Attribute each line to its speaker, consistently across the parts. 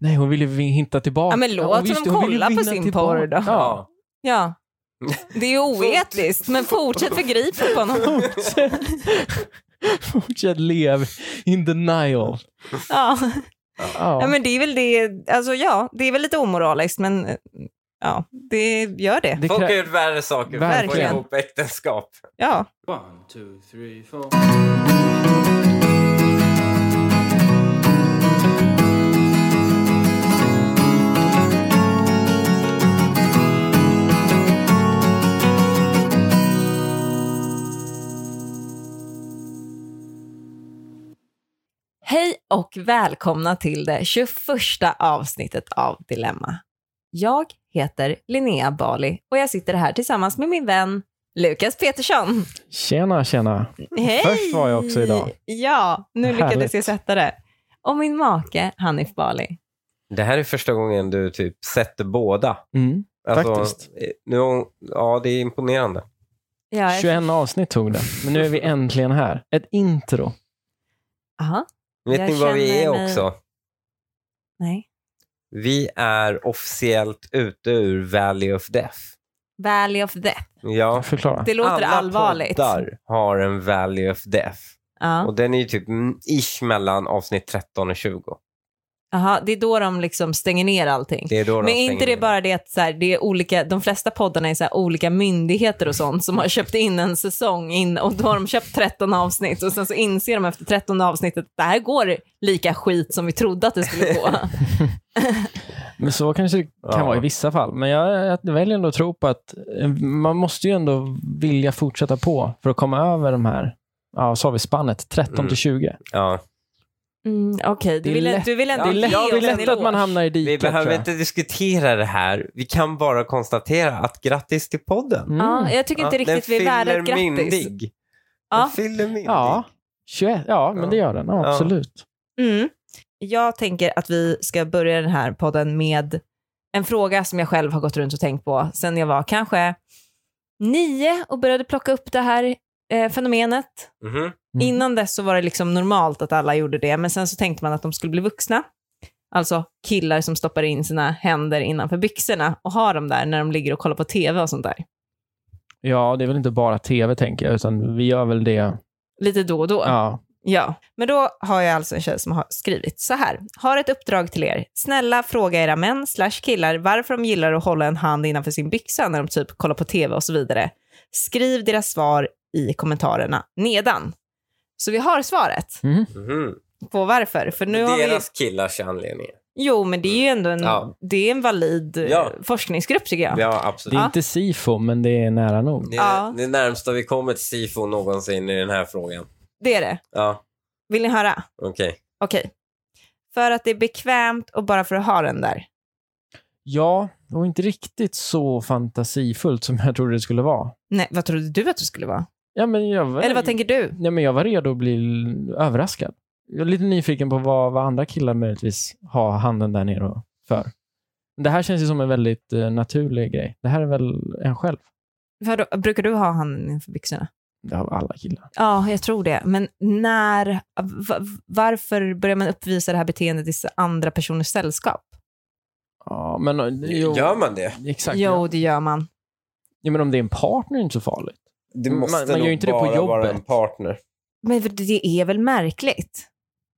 Speaker 1: Nej, hon ville vin- hinta tillbaka.
Speaker 2: Ja, men låt
Speaker 1: hon
Speaker 2: honom
Speaker 1: visste- hon ville
Speaker 2: kolla på
Speaker 1: vinna
Speaker 2: sin
Speaker 1: tillbaka.
Speaker 2: porr då.
Speaker 1: Ja.
Speaker 2: Ja. Det är ju oetiskt, men fortsätt förgripa på honom.
Speaker 1: Fortsätt- Fortsätt lev in denial.
Speaker 2: Ja.
Speaker 1: Ja.
Speaker 2: Ja, men det är väl det, alltså ja, det är väl lite omoraliskt, men eh, ja, det gör det.
Speaker 1: Det
Speaker 3: Folk har
Speaker 1: krä-
Speaker 3: gjort värre saker för att få
Speaker 1: Verkligen.
Speaker 3: ihop äktenskap.
Speaker 2: Ja.
Speaker 4: One, two, three, four.
Speaker 2: Hej och välkomna till det 21 avsnittet av Dilemma. Jag heter Linnea Bali och jag sitter här tillsammans med min vän Lukas Petersson.
Speaker 1: Tjena, tjena.
Speaker 2: Hej!
Speaker 1: Först var jag också idag.
Speaker 2: Ja, nu lyckades
Speaker 1: Härligt.
Speaker 2: jag sätta det. Och min make Hanif Bali.
Speaker 3: Det här är första gången du typ sätter båda.
Speaker 1: Mm.
Speaker 3: Alltså,
Speaker 1: Faktiskt.
Speaker 3: eh, Nu, ja, det är imponerande.
Speaker 2: Jag är-
Speaker 1: 21 avsnitt tog det, men nu är vi äntligen här. Ett intro.
Speaker 2: Aha,
Speaker 3: Vet
Speaker 2: Jag
Speaker 3: ni vad vi är
Speaker 2: känner mig-
Speaker 3: också?
Speaker 2: nej.
Speaker 3: Vi är officiellt ute ur Valley of Death.
Speaker 2: Valley of Death.
Speaker 3: Ja.
Speaker 1: Förklara.
Speaker 2: Det låter
Speaker 3: Alla
Speaker 2: allvarligt.
Speaker 3: poddar har en Valley of Death.
Speaker 2: Ja.
Speaker 3: Och den är ju typ mm, ish mellan avsnitt 13 och 20.
Speaker 2: Aha, det är då de liksom stänger ner allting.
Speaker 3: Det är då de
Speaker 2: Men är inte
Speaker 3: stänger
Speaker 2: det
Speaker 3: ner.
Speaker 2: bara det att så här, det är olika, de flesta poddarna är så här, olika myndigheter och sånt som har köpt in en säsong in, och då har de köpt 13 avsnitt och sen så inser de efter 13 avsnittet att det här går lika skit som vi trodde att det skulle gå.
Speaker 1: Men så kanske det kan
Speaker 3: Ja.
Speaker 1: vara i vissa fall. Men jag, jag väljer ändå att tro på att eh, man måste ju ändå vilja fortsätta på för att komma över de här, ja, så har vi spannet, 13
Speaker 3: Mm.
Speaker 1: till 20.
Speaker 3: Ja.
Speaker 2: Mm,
Speaker 1: Det
Speaker 2: Okej, du,
Speaker 1: är
Speaker 2: vill,
Speaker 1: lätt-
Speaker 2: du vill ändå
Speaker 1: det är lätt,
Speaker 2: ge
Speaker 3: ja,
Speaker 2: oss
Speaker 1: det är
Speaker 2: en
Speaker 1: lätt
Speaker 2: eloge.
Speaker 1: att man hamnar i
Speaker 3: Vi
Speaker 1: diket. tror
Speaker 3: behöver
Speaker 1: jag.
Speaker 3: inte diskutera det här. Vi kan bara konstatera att grattis till podden.
Speaker 1: Mm.
Speaker 2: Ja, jag tycker inte
Speaker 3: Ja, den
Speaker 2: riktigt vi är värda ett
Speaker 3: fyller
Speaker 2: grattis.
Speaker 3: Myndig.
Speaker 2: Ja.
Speaker 3: Den fyller myndig.
Speaker 1: Ja, 21. Ja, men
Speaker 3: Ja.
Speaker 1: det gör den. Ja,
Speaker 3: Ja.
Speaker 1: absolut.
Speaker 2: Mm. Jag tänker att vi ska börja den här podden med en fråga som jag själv har gått runt och tänkt på sen jag var kanske nio och började plocka upp det här eh, fenomenet.
Speaker 3: Mhm.
Speaker 1: Mm.
Speaker 2: Innan dess så var det liksom normalt att alla gjorde det, men sen så tänkte man att de skulle bli vuxna. Alltså killar som stoppar in sina händer innanför byxorna och har dem där när de ligger och kollar på tv och sånt där.
Speaker 1: Ja, det är väl inte bara tv, tänker jag, utan vi gör väl det.
Speaker 2: Lite då och då.
Speaker 1: Ja.
Speaker 2: Ja, men då har jag alltså en tjej som har skrivit så här. Har ett uppdrag till er. Snälla fråga era män slash killar varför de gillar att hålla en hand innanför sin byxa när de typ kollar på tv och så vidare. Skriv deras svar i kommentarerna nedan. Så vi har svaret
Speaker 1: Mm.
Speaker 3: Mhm.
Speaker 2: på varför. För nu har vi...
Speaker 3: Deras killars anledningar.
Speaker 2: Jo, men det är ju ändå en,
Speaker 3: Ja.
Speaker 2: det är en valid eh,
Speaker 3: Ja.
Speaker 2: forskningsgrupp tycker
Speaker 3: Ja,
Speaker 2: jag.
Speaker 1: Det är
Speaker 3: absolut.
Speaker 2: Ja.
Speaker 1: inte sifo, men det är nära nog.
Speaker 3: Det är
Speaker 2: Ja.
Speaker 3: det närmsta vi kommer till SIFO någonsin i den här frågan.
Speaker 2: Det är det.
Speaker 3: Ja,
Speaker 2: Vill ni höra?
Speaker 3: okej.
Speaker 2: Okej. För att det är bekvämt och bara för att ha den där.
Speaker 1: Ja, och inte riktigt så fantasifullt som jag trodde det skulle vara.
Speaker 2: Nej, vad trodde du att det skulle vara?
Speaker 1: Ja, men jag var,
Speaker 2: Eller vad tänker du?
Speaker 1: Nej, men jag var redo att bli l- överraskad. Jag är lite nyfiken på vad, vad andra killar möjligtvis har handen där nere och- för. Det här känns ju som en väldigt eh, naturlig grej. Det här är väl en själv?
Speaker 2: Vadå, brukar du ha handen inför byxorna?
Speaker 1: Det har alla killar.
Speaker 2: Ja, jag tror det. Men när, va- varför börjar man uppvisa det här beteendet i s- andra personers sällskap?
Speaker 1: Ja, men, eh, jo,
Speaker 3: Gör man det?
Speaker 1: Exakt.
Speaker 2: Jo,
Speaker 1: Ja.
Speaker 2: det gör man.
Speaker 1: Ja, men om det är en partner är det inte så
Speaker 2: Mm,
Speaker 1: farligt.
Speaker 3: Det
Speaker 1: Man-
Speaker 3: måste
Speaker 1: man gör
Speaker 3: nog
Speaker 1: ju inte det på
Speaker 3: bara vara
Speaker 1: jobbet.
Speaker 3: en partner.
Speaker 2: Men för det är väl märkligt?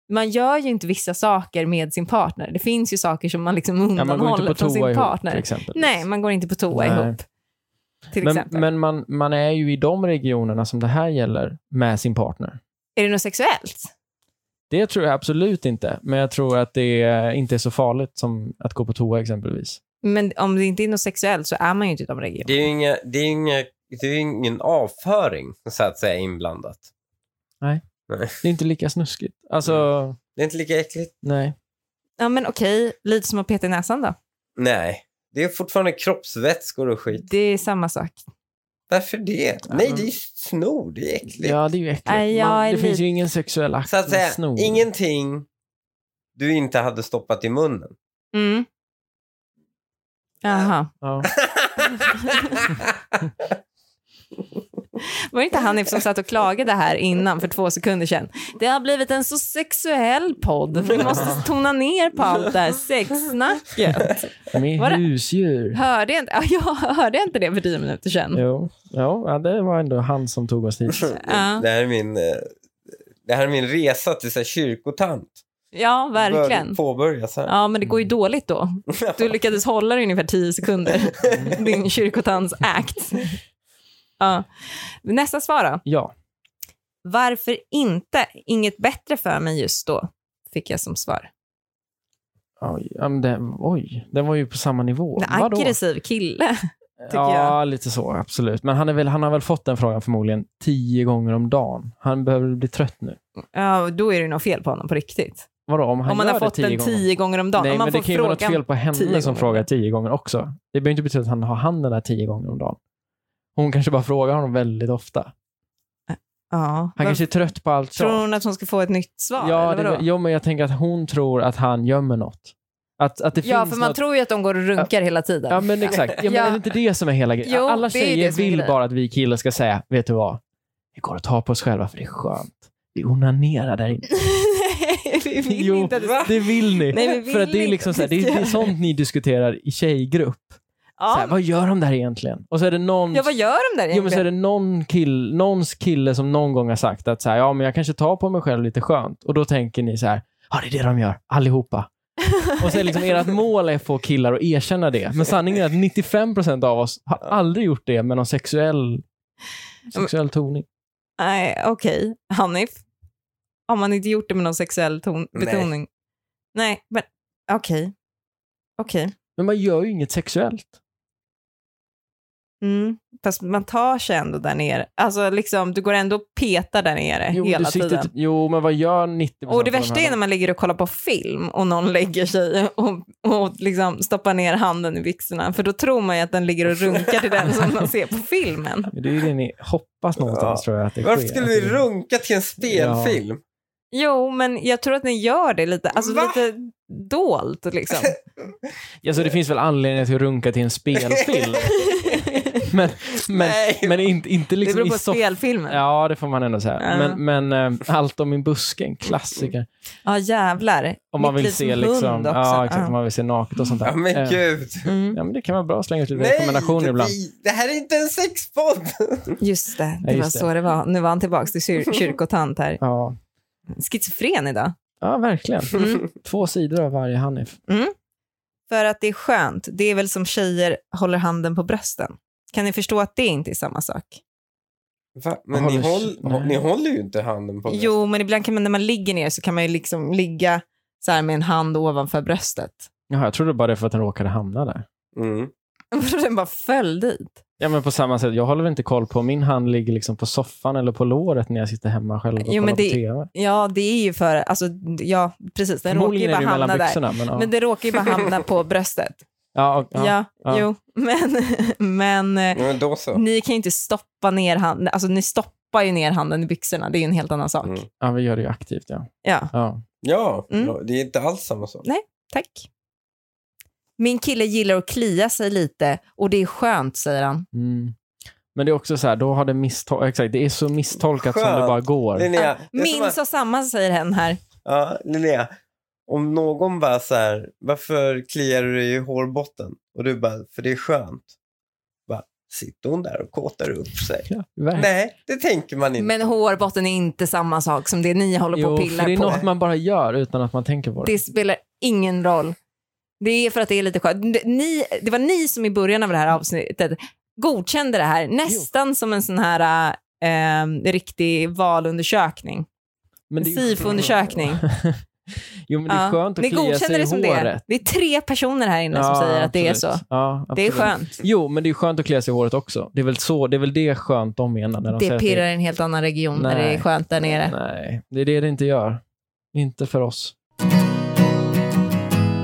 Speaker 2: Man gör ju inte vissa saker med sin partner. Det finns ju saker som man liksom
Speaker 1: Ja, man går
Speaker 2: undanhåller
Speaker 1: inte på
Speaker 2: från sin
Speaker 1: toa ihop
Speaker 2: partner.
Speaker 1: till exempel.
Speaker 2: Nej, man går inte på toa
Speaker 1: Nej.
Speaker 2: ihop. Till
Speaker 1: Men,
Speaker 2: exempel.
Speaker 1: men man, man är ju i de regionerna som det här gäller med sin partner.
Speaker 2: Är det något sexuellt?
Speaker 1: Det tror jag absolut inte, men jag tror att det är- inte är så farligt som att gå på toa exempelvis.
Speaker 2: Men om det inte är något sexuellt så är man ju inte i de regionerna.
Speaker 3: Det är ju inga, det är inga, det är ingen avföring, så att säga, inblandat.
Speaker 1: Det är inte lika snuskigt. Alltså,
Speaker 3: Det är inte lika äckligt.
Speaker 1: nej.
Speaker 2: Ja, men okej. Lite som att peta i näsan då.
Speaker 3: Nej. Det är fortfarande kroppsvätskor och skit.
Speaker 2: Det är samma sak.
Speaker 3: Varför det? Nej,
Speaker 1: men-
Speaker 3: det är ju snor. Det är äckligt.
Speaker 1: Ja, det är ju äckligt.
Speaker 2: Nej, jag
Speaker 1: Man,
Speaker 2: är
Speaker 1: det finns
Speaker 2: lite-
Speaker 1: ju ingen sexuell akt
Speaker 3: Så att
Speaker 1: med
Speaker 3: säga,
Speaker 1: snor.
Speaker 3: ingenting du inte hade stoppat i munnen.
Speaker 2: Mm. Eh, Jaha.
Speaker 1: Ja.
Speaker 2: Var det inte Hanif som satt och klagade här innan för två sekunder sedan? Det har blivit en så sexuell podd. Vi måste tona ner på allt det här sexsnacket.
Speaker 1: Med
Speaker 2: Var det-
Speaker 1: husdjur.
Speaker 2: Hörde jag inte, ja, jag hörde inte det för tio minuter sedan?
Speaker 1: Jo, jo ja, det var ändå han som tog oss hit.
Speaker 2: Ja.
Speaker 3: Det här är min, eh, det här är min resa till så här, kyrkotant.
Speaker 2: Ja, verkligen.
Speaker 3: Bör påbörjas här.
Speaker 2: Ja, men det går ju dåligt då. Du lyckades hålla det i ungefär tio sekunder, din kyrkotans act. Ja. Nästa svar då.
Speaker 1: Ja,
Speaker 2: Varför inte? Inget bättre för mig just då, fick jag som svar.
Speaker 1: oj, ja, men den, oj, den var ju på samma nivå.
Speaker 2: En
Speaker 1: Vadå?
Speaker 2: aggressiv kille.
Speaker 1: Ja, lite så. Absolut. Men han, är väl, han har väl fått den frågan förmodligen tio gånger om dagen. Han behöver bli trött nu.
Speaker 2: Ja, och då är det nog fel på honom på riktigt.
Speaker 1: Vadå, om han
Speaker 2: om man
Speaker 1: gör
Speaker 2: har fått
Speaker 1: det tio
Speaker 2: den
Speaker 1: gånger?
Speaker 2: tio gånger om dagen.
Speaker 1: Nej,
Speaker 2: om man
Speaker 1: men det
Speaker 2: får
Speaker 1: kan ju vara något
Speaker 2: frågan-
Speaker 1: fel på
Speaker 2: tio
Speaker 1: henne
Speaker 2: gånger
Speaker 1: som
Speaker 2: om
Speaker 1: frågar
Speaker 2: dagen.
Speaker 1: tio gånger också. Det behöver inte betyda att han har handen där tio gånger om dagen. Hon kanske bara frågar honom väldigt ofta. Han
Speaker 2: Ja. Var-
Speaker 1: kanske är trött på allt
Speaker 2: Tror
Speaker 1: sånt.
Speaker 2: hon att hon ska få ett nytt svar?
Speaker 1: Ja,
Speaker 2: eller
Speaker 1: det,
Speaker 2: vadå?
Speaker 1: jo, men jag tänker att hon tror att han gömmer något. Att, att det
Speaker 2: ja,
Speaker 1: finns
Speaker 2: för man
Speaker 1: något...
Speaker 2: tror ju att de går och runkar hela tiden.
Speaker 1: Ja, men exakt. Ja, men
Speaker 2: Ja.
Speaker 1: Är det inte det som är hela grejen?
Speaker 2: Jo,
Speaker 1: Alla
Speaker 2: det är ju
Speaker 1: tjejer
Speaker 2: det som är
Speaker 1: vill
Speaker 2: grejen.
Speaker 1: bara att vi killar ska säga, vet du vad? Vi går och tar på oss själva för det är skönt. Vi onanerar där inne.
Speaker 2: Nej, vi vill
Speaker 1: Jo,
Speaker 2: inte att det ska...
Speaker 1: det vill ni.
Speaker 2: Nej, vi vill
Speaker 1: för att det är,
Speaker 2: inte
Speaker 1: liksom
Speaker 2: att
Speaker 1: så här, det, är,
Speaker 2: ska-
Speaker 1: det är sånt ni diskuterar i tjejgrupp. Så här,
Speaker 2: Ja,
Speaker 1: vad gör de där egentligen? Och så är det någon...
Speaker 2: ja, vad gör de där
Speaker 1: Jo, men så är
Speaker 2: egentligen?
Speaker 1: det någon kill, någons kille som någon gång har sagt att så här, ja, men jag kanske tar på mig själv lite skönt. Och då tänker ni så här, ja det är det de gör, allihopa. Och så är liksom ert mål är att få killar att erkänna det. Men sanningen är att 95% av oss har aldrig gjort det med någon sexuell, sexuell toning.
Speaker 2: Nej, okej. Hanif, har man inte gjort det med någon sexuell ton-
Speaker 3: Nej.
Speaker 2: betoning? Nej, men okej. Okej.
Speaker 1: Men man gör ju inget sexuellt.
Speaker 2: Mm. Fast man tar sig ändå där nere. Alltså liksom, du går ändå och petar där nere
Speaker 1: Jo,
Speaker 2: Eh, hela
Speaker 1: du typ- siktar
Speaker 2: tiden.
Speaker 1: till- jo men vad gör 90%
Speaker 2: Och det
Speaker 1: av de
Speaker 2: värsta
Speaker 1: här
Speaker 2: är när man ligger och kollar på film och någon lägger sig och, och liksom stoppar ner handen i byxorna. För då tror man ju att den ligger och runkar till den som man ser på filmen.
Speaker 1: Det är ju det ni hoppas någonstans
Speaker 3: Ja.
Speaker 1: tror jag att det
Speaker 3: Varför
Speaker 1: sker.
Speaker 3: skulle
Speaker 1: Att
Speaker 3: vi
Speaker 1: det-
Speaker 3: runka till en spelfilm?
Speaker 2: Jo, men jag tror att ni gör det lite, alltså
Speaker 3: Va?
Speaker 2: lite dolt liksom.
Speaker 1: Alltså det finns väl anledningar till att runka till en spelfilm. men men,
Speaker 3: Nej.
Speaker 1: men inte, inte
Speaker 2: Det
Speaker 1: liksom
Speaker 2: beror
Speaker 1: i
Speaker 2: på
Speaker 1: soff-
Speaker 2: spelfilmen. Ja,
Speaker 1: Ja, det får man ändå säga.
Speaker 2: Ja.
Speaker 1: Men, men eh, Allt om min buske, en klassiker.
Speaker 2: jävlar.
Speaker 1: Om man
Speaker 2: Mitt
Speaker 1: vill
Speaker 2: livs
Speaker 1: se
Speaker 2: hund
Speaker 1: liksom,
Speaker 2: också.
Speaker 1: ja, exakt,
Speaker 2: Ja.
Speaker 1: om man vill se naket och sånt där.
Speaker 3: Ja, men
Speaker 1: Eh,
Speaker 3: gud.
Speaker 2: Mm,
Speaker 1: ja, men det kan vara bra att slänga ut lite
Speaker 3: Nej,
Speaker 1: rekommendationer ibland.
Speaker 3: vi- det här är inte en sexpodd.
Speaker 2: just det, det
Speaker 1: Ja, just
Speaker 2: var
Speaker 1: det.
Speaker 2: så det var. Nu var han tillbaka till kyr- kyrkotant här.
Speaker 1: Ja.
Speaker 2: Schizofren idag.
Speaker 1: ja, verkligen.
Speaker 2: Mm.
Speaker 1: Två sidor av varje Hanif.
Speaker 2: För att det är skönt. Det är väl som tjejer håller handen på brösten. Kan ni förstå att det inte är samma sak?
Speaker 3: Va? Men
Speaker 1: Håller-
Speaker 3: ni, håll,
Speaker 1: nej.
Speaker 3: hå- ni håller ju inte handen på mig.
Speaker 2: Jo, men ibland kan man, när man ligger ner så kan man ju liksom ligga så här med en hand ovanför bröstet.
Speaker 1: Jaha, jag trodde bara det för att den råkade hamna där.
Speaker 3: Mm.
Speaker 2: Den bara föll dit.
Speaker 1: Ja, men på samma sätt. Jag håller väl inte koll på om min hand ligger liksom på soffan eller på låret när jag sitter hemma själv och
Speaker 2: Jo,
Speaker 1: kollar
Speaker 2: men
Speaker 1: på
Speaker 2: det-
Speaker 1: TV.
Speaker 2: Ja, det är ju för, alltså, ja, precis. Den råkar ju
Speaker 1: Förmodligen är
Speaker 2: bara
Speaker 1: det ju
Speaker 2: hamna
Speaker 1: mellan
Speaker 2: där.
Speaker 1: byxorna. Men, ja.
Speaker 2: Men det råkar ju bara hamna på bröstet.
Speaker 1: ja, och,
Speaker 2: Ja,
Speaker 1: ja. ja.
Speaker 2: jo, men, men eh,
Speaker 3: Ja, men då så.
Speaker 2: ni kan ju inte stoppa ner handen, alltså ni stoppar ju ner handen i byxorna, det är ju en helt annan sak.
Speaker 3: Mm.
Speaker 1: ja, vi gör det ju aktivt. Ja.
Speaker 2: Ja,
Speaker 1: Ja.
Speaker 3: Ja,
Speaker 2: Mm.
Speaker 3: ja, det är inte alls samma sak.
Speaker 2: tack. Min kille gillar att klia sig lite och det är skönt, säger han.
Speaker 1: Mm. Men det är också så här, då har det misstolkat. Exakt, det är så misstolkat som det
Speaker 3: Skönt.
Speaker 1: bara går.
Speaker 3: Linnea, det är som
Speaker 2: Min
Speaker 3: att-
Speaker 2: sa samma, säger hen här.
Speaker 3: Ja, Linnea. Om någon bara så här, varför kliar du dig i hårbotten? Och du bara, för det är skönt. Bara, sitter hon där och kåtar upp sig?
Speaker 1: Ja, verkligen.
Speaker 3: Nej, det tänker man inte.
Speaker 2: Men hårbotten är inte samma sak som det ni håller på
Speaker 1: Jo,
Speaker 2: och
Speaker 1: för det
Speaker 2: pillar
Speaker 1: är
Speaker 2: på.
Speaker 1: något man bara gör utan att man tänker på det.
Speaker 2: Det spelar ingen roll. Det är för att det är lite skönt. Ni, det var ni som i början av det här avsnittet godkände det här nästan som en sån här eh, riktig valundersökning.
Speaker 1: Men det är ju-
Speaker 2: SIFO-undersökning.
Speaker 1: Jo, men det är
Speaker 2: Ja.
Speaker 1: skönt att
Speaker 2: Ni
Speaker 1: klia sig
Speaker 2: godkände
Speaker 1: i
Speaker 2: det som det är.
Speaker 1: håret.
Speaker 2: Det är tre personer här inne som
Speaker 1: Ja,
Speaker 2: säger att det är så.
Speaker 1: absolut. Ja,
Speaker 2: Det är
Speaker 1: absolut.
Speaker 2: skönt.
Speaker 1: Jo, men det är skönt att klia sig i håret också. Det är väl, så, det, är väl det skönt de menar. När de säger
Speaker 2: Det
Speaker 1: att är-
Speaker 2: pirrar i en helt annan region när det
Speaker 1: Nej.
Speaker 2: är skönt där nere.
Speaker 1: Nej, det är det det inte gör. Inte för oss.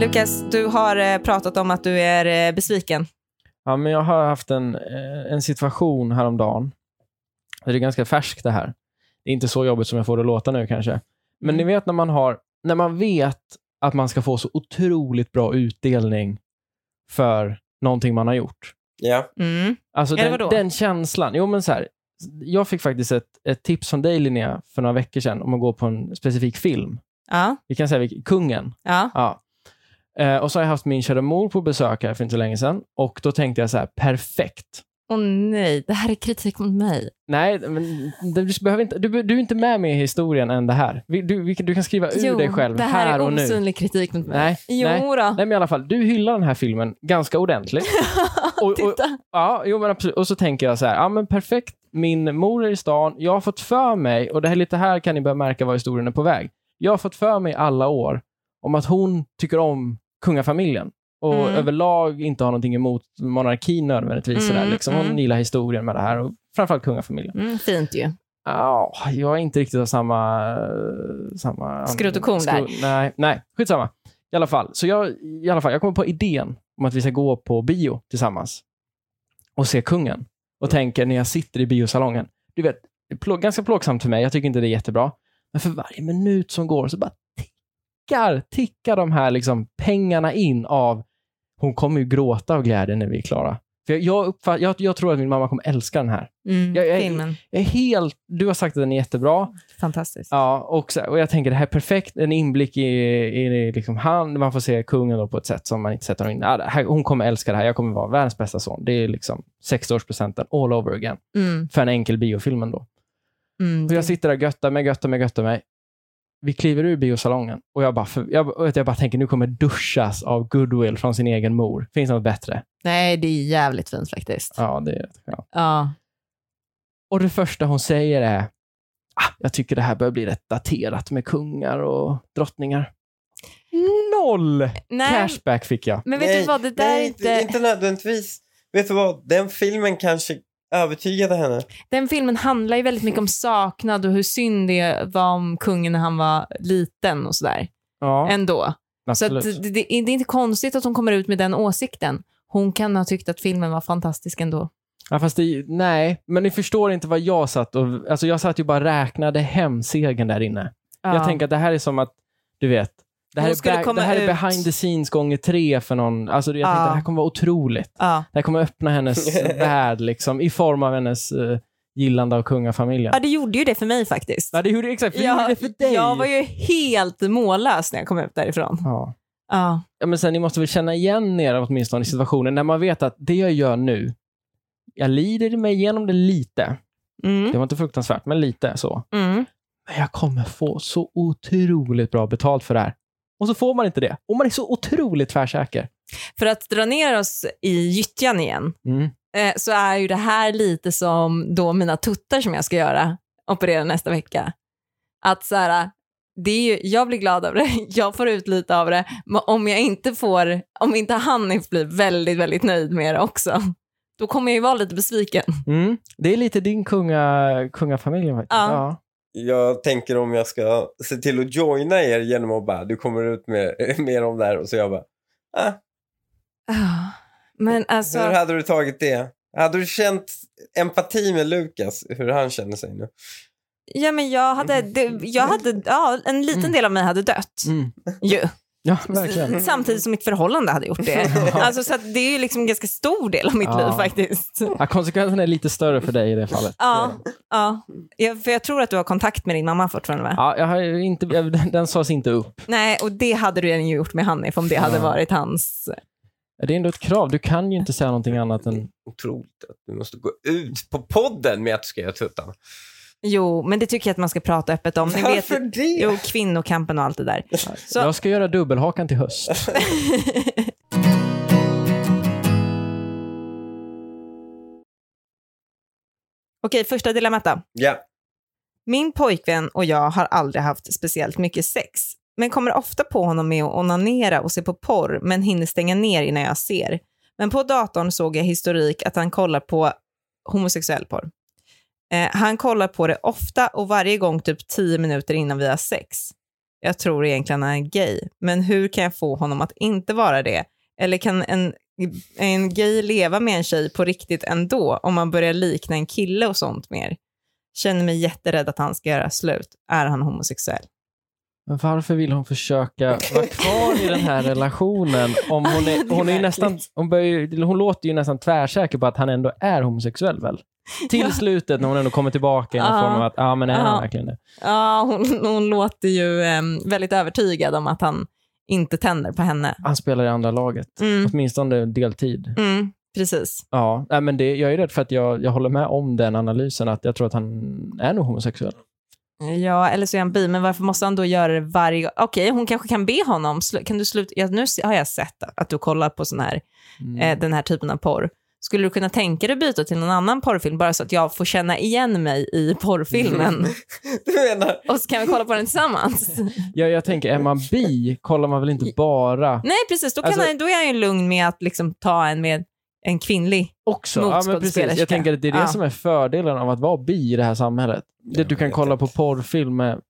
Speaker 2: Lukas, du har eh, pratat om att du är eh, besviken.
Speaker 1: Ja, men jag har haft en, eh, en situation häromdagen. Det är ganska färskt det här. Det är inte så jobbigt som jag får det att låta nu kanske. Men
Speaker 2: Mm.
Speaker 1: ni vet när man, har, när man vet att man ska få så otroligt bra utdelning för någonting man har gjort.
Speaker 3: Ja,
Speaker 2: Mm.
Speaker 1: Alltså
Speaker 2: Eller
Speaker 1: den,
Speaker 2: vadå?
Speaker 1: den känslan. Jo, men så här, jag fick faktiskt ett, ett tips från dig, Linnea, för några veckor sedan om att gå på en specifik film.
Speaker 2: Ja,
Speaker 1: Vi kan säga vilken- Kungen.
Speaker 2: ja.
Speaker 1: Ja. Eh, och så har jag haft min kära mor på besök här för inte så länge sedan. Och då tänkte jag så här, perfekt.
Speaker 2: Åh nej, det här är kritik mot mig.
Speaker 1: Nej, men du, behöver inte, du, be- du är inte med mig i historien än det här. Vi- Du, vi, kan- du kan skriva ur dig själv
Speaker 2: det här,
Speaker 1: här
Speaker 2: är
Speaker 1: och nu.
Speaker 2: osynlig kritik mot mig.
Speaker 1: Nej,
Speaker 2: Jo
Speaker 1: nej.
Speaker 2: då.
Speaker 1: Nej, men i alla fall, du hyllar den här filmen ganska ordentligt. och, och,
Speaker 2: Titta.
Speaker 1: ja, jo, men absolut. och så tänker jag så här, ja men perfekt, min mor är i stan, jag har fått för mig, och det här lite här kan ni börja märka var historien är på väg. Jag har fått för mig alla år om att hon tycker om kungafamiljen och
Speaker 2: Mm.
Speaker 1: överlag inte har någonting emot monarkin nödvändigtvis.
Speaker 2: Mm,
Speaker 1: sådär, liksom. Hon
Speaker 2: mm.
Speaker 1: gillar historien med det här och framförallt kungafamiljen.
Speaker 2: Mm, fint ju.
Speaker 1: Ja, jag är inte riktigt av samma... eh, samma
Speaker 2: Skrot och korn där.
Speaker 1: Nej, nej, skitsamma. I alla fall, så jag, i alla fall, jag kommer på idén om att vi ska gå på bio tillsammans och se Kungen. Och tänker när jag sitter i biosalongen, du vet, det är plå, ganska plågsamt för mig, jag tycker inte det är jättebra. Men för varje minut som går så bara tickar, tickar de här liksom pengarna in av hon kommer ju gråta av glädje när vi är klara. För jag, jag, uppfatt, jag, jag tror att min mamma kommer älska den här.
Speaker 2: Mm,
Speaker 1: Jag- jag-
Speaker 2: filmen.
Speaker 1: Jag är helt, du har sagt att den är jättebra.
Speaker 2: Fantastiskt.
Speaker 1: Ja, och, så, och jag tänker det här är perfekt. En inblick i, i liksom han. Man får se kungen då på ett sätt som man inte sett honom innan. Ja, det här- Hon kommer älska det här. Jag kommer vara världens bästa son. Det är liksom 60-årspresenten all over again.
Speaker 2: Mm,
Speaker 1: För en enkel biofilm ändå.
Speaker 2: mm,
Speaker 1: Och jag sitter där och göttar mig, göttar mig, göttar mig. Vi kliver ur biosalongen och jag bara, för, jag, och jag bara tänker nu kommer duschas av goodwill från sin egen mor. Finns det något bättre?
Speaker 2: Nej, det är jävligt fint faktiskt.
Speaker 1: Ja, det ja.
Speaker 2: Ja.
Speaker 1: Och det första hon säger är, ah, jag tycker det här börjar bli rätt daterat med kungar och drottningar. Noll!
Speaker 2: Nej,
Speaker 1: Cashback fick jag.
Speaker 2: men vet du
Speaker 3: Nej,
Speaker 2: vad, det där är
Speaker 3: nej,
Speaker 2: inte...
Speaker 3: Inte nödvändigtvis. Vet du vad? Den filmen kanske övertygade henne.
Speaker 2: Den filmen handlar ju väldigt mycket om saknad och hur synd det var om kungen när han var liten och sådär.
Speaker 1: Ja,
Speaker 2: Ändå. Så att
Speaker 1: absolut.
Speaker 2: det, det, det är inte konstigt att hon kommer ut med den åsikten. Hon kan ha tyckt att filmen var fantastisk ändå.
Speaker 1: ja, fast det, nej, men ni förstår inte vad jag satt och... Alltså jag satt ju bara och räknade hem segern där inne. Jag tänker att det här är som att, du vet, det här,
Speaker 2: Hon
Speaker 1: är,
Speaker 2: skulle
Speaker 1: back,
Speaker 2: komma
Speaker 1: det här är
Speaker 2: ut.
Speaker 1: behind the scenes gånger tre för någon. Alltså jag tänkte
Speaker 2: Ja.
Speaker 1: det här kommer vara otroligt.
Speaker 2: ja.
Speaker 1: Det här kommer öppna hennes värld liksom, i form av hennes eh, gillande av kungafamiljen.
Speaker 2: ja, det gjorde ju det för mig faktiskt.
Speaker 1: Ja, det gjorde exakt, för det gjorde det för dig.
Speaker 2: jag var ju helt mållös när jag kom ut därifrån.
Speaker 1: ja.
Speaker 2: Ja.
Speaker 1: ja, men sen, ni måste väl känna igen er åtminstone i situationen när man vet att det jag gör nu, jag lider mig igenom det lite. Det
Speaker 2: Mm.
Speaker 1: var inte fruktansvärt, men lite så.
Speaker 2: Mm.
Speaker 1: Men jag kommer få så otroligt bra betalt för det här. Och så får man inte det. Och man är så otroligt tvärsäker.
Speaker 2: För att dra ner oss i gyttjan igen
Speaker 1: Mm.
Speaker 2: eh, så är ju det här lite som då mina tuttar som jag ska göra, operera nästa vecka. Att så här, det är ju, jag blir glad av det, jag får ut lite av det, men om jag inte får, om inte Hanif blir väldigt, väldigt nöjd med det också, då kommer jag ju vara lite besviken.
Speaker 1: Mm. Det är lite din kunga, kungafamilj faktiskt.
Speaker 2: Ja.
Speaker 3: Jag tänker om jag ska se till att joina er genom att bara, du kommer ut med, med dem där och så jag bara, ah,
Speaker 2: Ah,
Speaker 1: Mm.
Speaker 2: Men alltså,
Speaker 3: hur hade du tagit det? Hade du känt empati med Lukas, hur han känner sig nu?
Speaker 2: ja men jag hade, det, jag hade, ja en liten del av mig hade dött
Speaker 1: Mm.
Speaker 2: ju.
Speaker 1: Ja, verkligen.
Speaker 2: Samtidigt som mitt förhållande hade gjort det. Alltså, så att det är ju liksom en ganska stor del av mitt
Speaker 1: Ja.
Speaker 2: liv faktiskt.
Speaker 1: Ja, konsekvensen är lite större för dig i det fallet.
Speaker 2: Ja, ja. Jag, för jag tror att du har kontakt med din mamma fortfarande va?
Speaker 1: Ja, jag har ju inte, jag, den, den sades inte upp.
Speaker 2: Nej, och det hade du ju gjort med Hanif om det hade
Speaker 1: Ja.
Speaker 2: varit hans...
Speaker 1: Det är ändå ett krav. Du kan ju inte säga någonting annat än
Speaker 3: Otroligt att du måste gå ut på podden med att du ska göra tuttan.
Speaker 2: Jo, men det tycker jag att man ska prata öppet om. Ni vet,
Speaker 3: Varför det?
Speaker 2: jo, kvinnokampen och allt det där. Så-
Speaker 1: Jag ska göra dubbelhakan till höst.
Speaker 2: Okej, första dilemmat då.
Speaker 3: Ja,
Speaker 2: Min pojkvän och jag har aldrig haft speciellt mycket sex, men kommer ofta på honom med att onanera och se på porr, men hinner stänga ner innan jag ser. Men på datorn såg jag historik att han kollar på homosexuell porr. Eh, han kollar på det ofta och varje gång typ 10 minuter innan vi har sex. Jag tror egentligen han är gay, men hur kan jag få honom att inte vara det? Eller kan en, en gay leva med en tjej på riktigt ändå om man börjar likna en kille och sånt mer? Känner mig jätterädd att han ska göra slut. Är han homosexuell?
Speaker 1: Men varför vill hon försöka vara kvar i den här relationen? Om hon,
Speaker 2: Det
Speaker 1: är,
Speaker 2: är
Speaker 1: hon, är ju
Speaker 2: märkligt.
Speaker 1: nästan, hon, börjar, ju- hon låter ju nästan tvärsäker på att han ändå är homosexuell väl?
Speaker 2: Ja.
Speaker 1: Till slutet när hon ändå kommer tillbaka i någon
Speaker 2: Ja.
Speaker 1: form av att, ja ah, men är
Speaker 2: Ja.
Speaker 1: han verkligen det?
Speaker 2: Ja, hon, hon låter ju em, väldigt övertygad om att han inte tänder på henne.
Speaker 1: Han spelar i andra laget,
Speaker 2: Mm,
Speaker 1: åtminstone deltid.
Speaker 2: mm, precis.
Speaker 1: Ja, nej, men det, jag är rädd för att jag, jag håller med om den analysen, att jag tror att han är nog homosexuell.
Speaker 2: Ja, eller så är han bi, men varför måste han då göra det varje gång? Okej, hon kanske kan be honom. slu- Kan du sluta? Ja, nu se- har jag sett att du kollar på sån här,
Speaker 1: Mm.
Speaker 2: eh, den här typen av porr. Skulle du kunna tänka dig byta till någon annan porrfilm bara så att jag får känna igen mig i porrfilmen?
Speaker 3: Du menar,
Speaker 2: Och så kan vi kolla på den tillsammans.
Speaker 1: Ja, jag tänker, är man bi kollar man väl inte bara
Speaker 2: Nej, precis. Då, kan
Speaker 1: Alltså-
Speaker 2: han, då är han ju lugn med att liksom ta en med en kvinnlig.
Speaker 1: också? Ja, men precis.
Speaker 2: Motskådespelerska.
Speaker 1: Jag tänker att det är det
Speaker 2: Ja.
Speaker 1: som är fördelen av att vara bi i det här samhället. Det,
Speaker 3: Jag
Speaker 1: du kan
Speaker 3: vet
Speaker 1: kolla
Speaker 3: inte.
Speaker 1: på porrfilm med...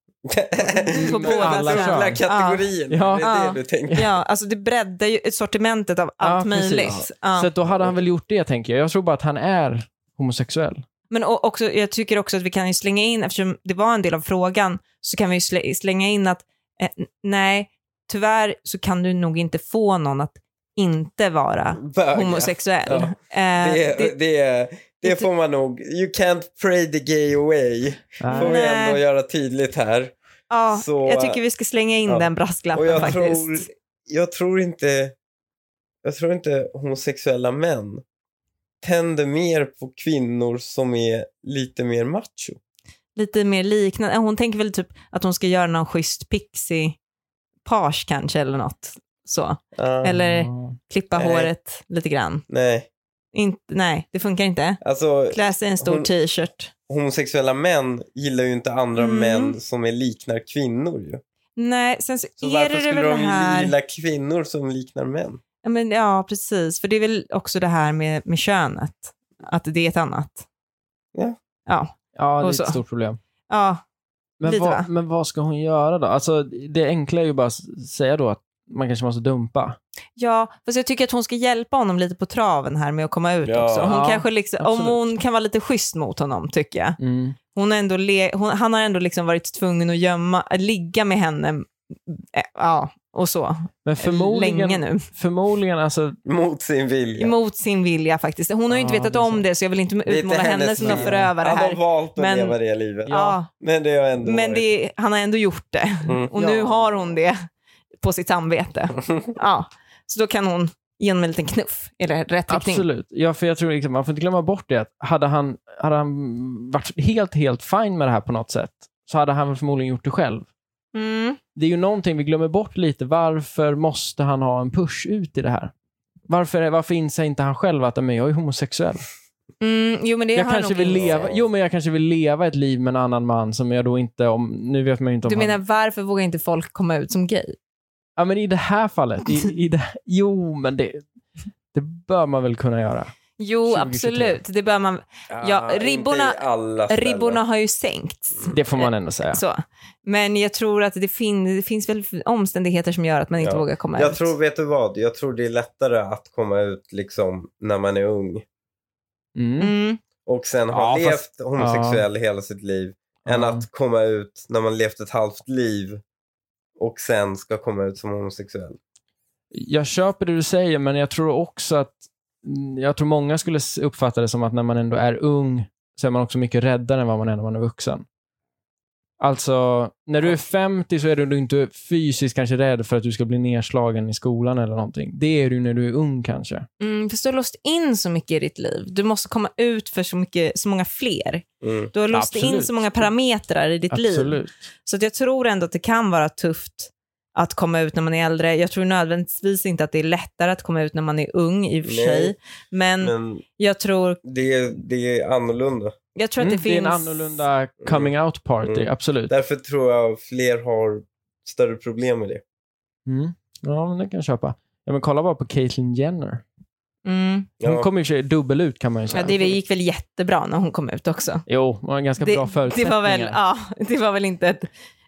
Speaker 2: På
Speaker 3: Men
Speaker 2: båda
Speaker 3: alla
Speaker 2: kön.
Speaker 3: jävla kategorier.
Speaker 1: Ja.
Speaker 3: Det är
Speaker 2: Ja.
Speaker 3: det du tänker.
Speaker 2: Ja, alltså det breddar ju sortimentet av
Speaker 1: Ja,
Speaker 2: allt
Speaker 1: precis.
Speaker 2: möjligt. Ja.
Speaker 1: Så att då hade han väl gjort det, tänker jag. Jag tror bara att han är homosexuell.
Speaker 2: Men o- också, jag tycker också att vi kan ju slänga in, eftersom det var en del av frågan, så kan vi ju slä- slänga in att eh, n- nej, tyvärr så kan du nog inte få någon att inte vara
Speaker 3: Bögar.
Speaker 2: homosexuell.
Speaker 3: Ja.
Speaker 2: Eh,
Speaker 3: Det, det, det, det får man nog. You can't pray the gay away. Får vi
Speaker 2: Nej.
Speaker 3: ändå göra tydligt här.
Speaker 2: ja,
Speaker 3: så-
Speaker 2: jag tycker vi ska slänga in
Speaker 3: ja.
Speaker 2: den brasklappen
Speaker 3: Och jag
Speaker 2: faktiskt.
Speaker 3: tror, jag tror inte jag tror inte homosexuella män tänder mer på kvinnor som är lite mer macho.
Speaker 2: Lite mer liknande, hon tänker väl typ att hon ska göra någon schysst pixie page kanske eller något. Så.
Speaker 3: Ah,
Speaker 2: Eller
Speaker 1: Ja.
Speaker 2: klippa
Speaker 3: Nej.
Speaker 2: håret lite grann.
Speaker 3: Nej,
Speaker 2: In, nej, det funkar inte.
Speaker 3: alltså
Speaker 2: Klä sig i en stor
Speaker 3: Hon-
Speaker 2: t-shirt.
Speaker 3: homosexuella män gillar ju inte andra
Speaker 2: Mm.
Speaker 3: män som är liknar kvinnor ju.
Speaker 2: Nej, sen så,
Speaker 3: Så
Speaker 2: är
Speaker 3: varför
Speaker 2: det det
Speaker 3: skulle
Speaker 2: väl det
Speaker 3: de
Speaker 2: här...
Speaker 3: gilla kvinnor som liknar män?
Speaker 2: Ja, men, ja, precis. För det är väl också det här med, med könet, att det är ett annat.
Speaker 3: Ja.
Speaker 2: Ja,
Speaker 1: Ja, det
Speaker 2: Och
Speaker 1: är
Speaker 2: så.
Speaker 1: ett stort problem.
Speaker 2: ja,
Speaker 1: Men,
Speaker 2: Lite, va?
Speaker 1: vad, men vad ska hon göra då? Alltså, det enkla är ju bara att säga då att man kanske måste dumpa.
Speaker 2: ja. Fast jag tycker att hon ska hjälpa honom lite på traven här med att komma ut
Speaker 3: Ja.
Speaker 2: också. Hon
Speaker 1: Ja,
Speaker 2: kanske liksom, om
Speaker 1: absolut.
Speaker 2: hon kan vara lite schysst mot honom, tycker jag.
Speaker 3: Mm.
Speaker 2: Hon har ändå le, hon, han har ändå liksom varit tvungen att gömma, att ligga med henne, eh, ja, och så,
Speaker 1: Men
Speaker 2: länge
Speaker 1: förmodligen,
Speaker 2: nu.
Speaker 1: förmodligen alltså,
Speaker 3: Mot sin vilja.
Speaker 2: Emot sin vilja faktiskt. Hon har ju inte
Speaker 1: Ja,
Speaker 2: vetat
Speaker 1: det är
Speaker 2: om
Speaker 1: så.
Speaker 2: det, så jag vill inte
Speaker 3: är inte
Speaker 2: utmåla henne
Speaker 3: hennes
Speaker 2: som någon
Speaker 1: fel.
Speaker 2: förövare
Speaker 3: Han har
Speaker 2: här.
Speaker 3: valt att
Speaker 2: Men-
Speaker 3: leva det livet.
Speaker 2: Ja.
Speaker 3: Men det har ändå
Speaker 2: Men
Speaker 3: varit.
Speaker 2: det, han har ändå gjort det.
Speaker 3: Mm.
Speaker 2: Och nu
Speaker 1: Ja.
Speaker 2: har hon det på sitt samvete. Ja. Så då kan hon ge honom en liten knuff i rätt riktning.
Speaker 1: absolut. Ja, för jag tror liksom, man får inte glömma bort det att hade han, hade han varit helt, helt fin med det här på något sätt så hade han väl förmodligen gjort det själv.
Speaker 2: Mm.
Speaker 1: Det är ju någonting vi glömmer bort lite. Varför måste han ha en push ut i det här? Varför, varför inser inte han själv att "Men jag är homosexuell?
Speaker 2: Mm. Jo, men det
Speaker 1: Jag
Speaker 2: har han
Speaker 1: kanske,
Speaker 2: nog
Speaker 1: vill
Speaker 2: insett.
Speaker 1: leva, jo, men jag kanske vill leva ett liv med en annan man som jag då inte... Om, nu vet man ju inte om
Speaker 2: Du
Speaker 1: han...
Speaker 2: menar varför vågar inte folk komma ut som gay?
Speaker 1: Ja, men i det här fallet. I, i det, jo, men det, det bör man väl kunna göra.
Speaker 2: Jo,
Speaker 1: 2023.
Speaker 2: absolut. Det bör man... Ja,
Speaker 3: Ah, inte
Speaker 2: ribborna-
Speaker 3: i alla ställen.
Speaker 2: Ribborna har ju sänkts.
Speaker 1: Det får man ändå säga.
Speaker 2: Så. Men jag tror att det, fin- det finns väl omständigheter som gör att man inte
Speaker 3: Ja.
Speaker 2: vågar komma
Speaker 3: Jag
Speaker 2: ut.
Speaker 3: tror, vet du vad? Jag tror det är lättare att komma ut liksom när man är ung
Speaker 1: Mm.
Speaker 2: Mm.
Speaker 3: och sen
Speaker 1: Ja,
Speaker 3: har levt
Speaker 1: fast-
Speaker 3: homosexuell hela sitt liv än
Speaker 1: Ja.
Speaker 3: att komma ut när man levt ett halvt liv och sen ska komma ut som homosexuell.
Speaker 1: Jag köper det du säger, men jag tror också att... mm, Jag tror många skulle s- uppfatta det som att när man ändå är ung så är man också mycket räddare än vad man är när man är vuxen. Alltså, när du är 50 så är du inte fysiskt kanske rädd för att du ska bli nedslagen i skolan eller någonting. Det är du när du är ung kanske.
Speaker 2: Mm, för du har låst in så mycket i ditt liv. Du måste komma ut för så, mycket, så många fler.
Speaker 3: Mm.
Speaker 2: Du har låst in
Speaker 1: Absolut.
Speaker 2: så många parametrar i ditt liv.
Speaker 1: Absolut.
Speaker 2: Så att jag tror ändå att det kan vara tufft att komma ut när man är äldre. Jag tror nödvändigtvis inte att det är lättare att komma ut när man är ung i och för
Speaker 3: Nej,
Speaker 2: sig. Men,
Speaker 1: Mm.
Speaker 3: Men
Speaker 2: jag tror,
Speaker 3: det är, det är annorlunda.
Speaker 2: jag tror att det
Speaker 1: Mm, är
Speaker 2: finns...
Speaker 1: en annorlunda coming out party,
Speaker 3: Mm.
Speaker 1: absolut.
Speaker 3: Därför tror jag fler har större problem med det.
Speaker 1: Mm. Ja, men det kan jag köpa. Ja, men kolla bara på Caitlyn Jenner.
Speaker 2: Mm.
Speaker 1: Hon
Speaker 3: Ja.
Speaker 1: kom i och för sig dubbel ut kan man ju
Speaker 2: Ja,
Speaker 1: säga.
Speaker 2: det gick väl jättebra när hon kom ut också.
Speaker 1: Jo, hon har ganska bra
Speaker 2: det,
Speaker 1: förutsättningar.
Speaker 2: var väl, ja, det var väl inte ett,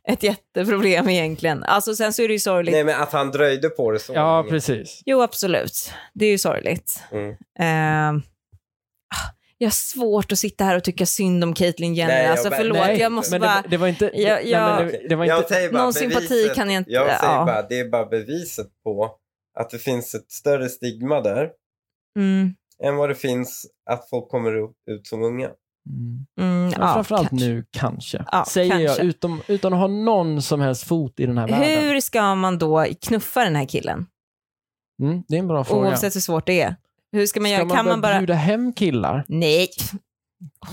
Speaker 2: ett jätteproblem egentligen. Alltså, sen så är det ju sorgligt.
Speaker 3: Nej, men att han dröjde på det så
Speaker 1: Ja,
Speaker 3: länge.
Speaker 1: precis.
Speaker 2: Jo, absolut. Det är ju sorgligt.
Speaker 3: Mm.
Speaker 2: Ehm, ah, jag har svårt att sitta här och tycka synd om Caitlyn Jenner.
Speaker 3: Nej, jag
Speaker 2: alltså,
Speaker 3: bara-
Speaker 2: förlåt,
Speaker 1: nej,
Speaker 2: jag måste
Speaker 1: Men det
Speaker 2: bara...
Speaker 1: var, det var inte...
Speaker 2: Jag- jag-
Speaker 1: nej, men det, det var
Speaker 3: Jag
Speaker 1: inte...
Speaker 3: säger bara,
Speaker 2: Någon sympati
Speaker 3: beviset-
Speaker 2: kan jag inte...
Speaker 3: Jag säger
Speaker 2: ja.
Speaker 3: bara, det är bara beviset på att det finns ett större stigma där
Speaker 2: Mm.
Speaker 3: än vad det finns att folk kommer u- ut som unga.
Speaker 1: Mm.
Speaker 2: Mm,
Speaker 1: Men
Speaker 2: ja,
Speaker 1: framförallt
Speaker 2: kanske.
Speaker 1: nu kanske,
Speaker 2: Ja,
Speaker 1: säger jag
Speaker 2: kanske.
Speaker 1: utom, utan att ha någon som helst fot i den här världen.
Speaker 2: Hur ska man då knuffa den här killen?
Speaker 1: Mm, det är en bra fråga.
Speaker 2: Oavsett hur svårt det är. Hur ska man
Speaker 1: Ska
Speaker 2: göra?
Speaker 1: man,
Speaker 2: kan man bara...
Speaker 1: bjuda hem killar?
Speaker 2: Nej,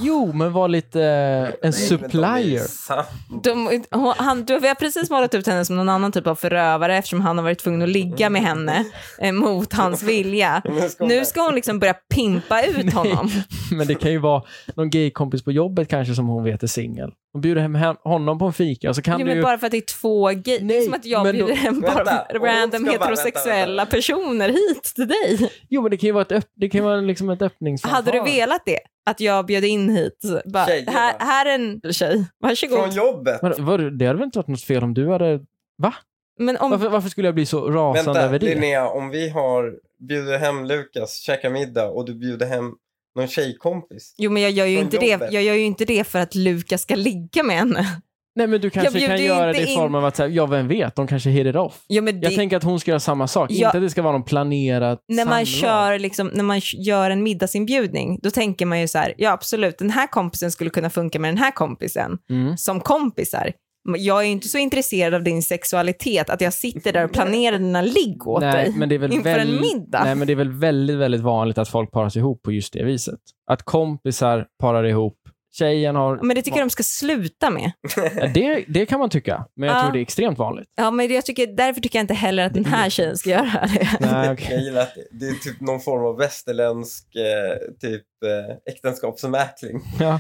Speaker 1: Jo, men var lite eh, en
Speaker 3: Nej, men de är ju
Speaker 1: supplier.
Speaker 3: sam-
Speaker 2: de, hon- han, du, vi har precis målat ut henne som någon annan typ av förövare eftersom han har varit tvungen att ligga med henne eh, mot hans vilja.
Speaker 3: Nu ska hon
Speaker 2: Nu
Speaker 3: där.
Speaker 2: ska hon liksom börja pimpa ut honom.
Speaker 1: Men det kan ju vara någon gaykompis på jobbet kanske som hon vet är singel. Hon bjuder hem hem honom på en fika och så kan du
Speaker 2: Jo, men
Speaker 1: ju...
Speaker 2: bara för att det är två gay. Det är
Speaker 1: Nej,
Speaker 2: som att jag
Speaker 1: men då-
Speaker 2: bjuder hem bara
Speaker 3: Vänta, om hon
Speaker 2: random
Speaker 3: ska bara-
Speaker 2: heterosexuella
Speaker 3: vänta, vänta.
Speaker 2: personer hit till dig.
Speaker 1: Jo, men det kan ju vara ett, öpp... det kan ju vara liksom ett öppningsförfarande.
Speaker 2: Hade du velat det? Att jag bjöd in hit? Bara,
Speaker 3: Tjejer,
Speaker 2: här,
Speaker 3: va?
Speaker 2: här är en tjej, varsågod.
Speaker 3: Från jobbet.
Speaker 1: Men, var, det hade väl inte varit något fel om du hade...
Speaker 2: Men om,
Speaker 1: Varför, varför skulle jag bli så rasande
Speaker 3: Vänta,
Speaker 1: över det?
Speaker 3: Linnea, om vi har bjuder hem Lukas, käkar middag och du bjuder hem någon tjejkompis.
Speaker 2: jo, men jag gör, ju
Speaker 3: från
Speaker 2: inte det,
Speaker 3: jobbet.
Speaker 2: jag gör ju inte det för att Lukas ska ligga med henne.
Speaker 1: Nej, men du kanske
Speaker 2: bjuder
Speaker 1: kan
Speaker 2: ju
Speaker 1: göra
Speaker 2: inte
Speaker 1: det i
Speaker 2: in-
Speaker 1: form av att, så här, ja, vem vet, de kanske hit it off.
Speaker 2: Jo, men det,
Speaker 1: Jag tänker att hon ska göra samma sak,
Speaker 2: Ja.
Speaker 1: inte att det ska vara någon planerad
Speaker 2: när man,
Speaker 1: samlag.
Speaker 2: kör, liksom, när man gör en middagsinbjudning, då tänker man ju så här, ja absolut, den här kompisen skulle kunna funka med den här kompisen.
Speaker 1: Mm.
Speaker 2: som kompisar. Jag är ju inte så intresserad av din sexualitet att jag sitter där och planerar dina ligg åt
Speaker 1: Nej,
Speaker 2: dig
Speaker 1: men det är väl
Speaker 2: inför en
Speaker 1: väldigt-
Speaker 2: middag.
Speaker 1: Nej, men det är väl väldigt, väldigt vanligt att folk paras ihop på just det viset. Att kompisar parar ihop. Tjejen har...
Speaker 2: men det tycker jag de ska sluta med.
Speaker 1: Ja, det, det kan man tycka, men jag
Speaker 2: Ja.
Speaker 1: tror det är extremt vanligt.
Speaker 2: Ja, men jag tycker, därför tycker jag inte heller att den här tjejen ska göra det.
Speaker 1: Nej,
Speaker 3: Jag
Speaker 1: okej.
Speaker 3: gillar att det, det är typ någon form av västerländsk eh, typ eh, äktenskapsmäkling.
Speaker 1: Ja.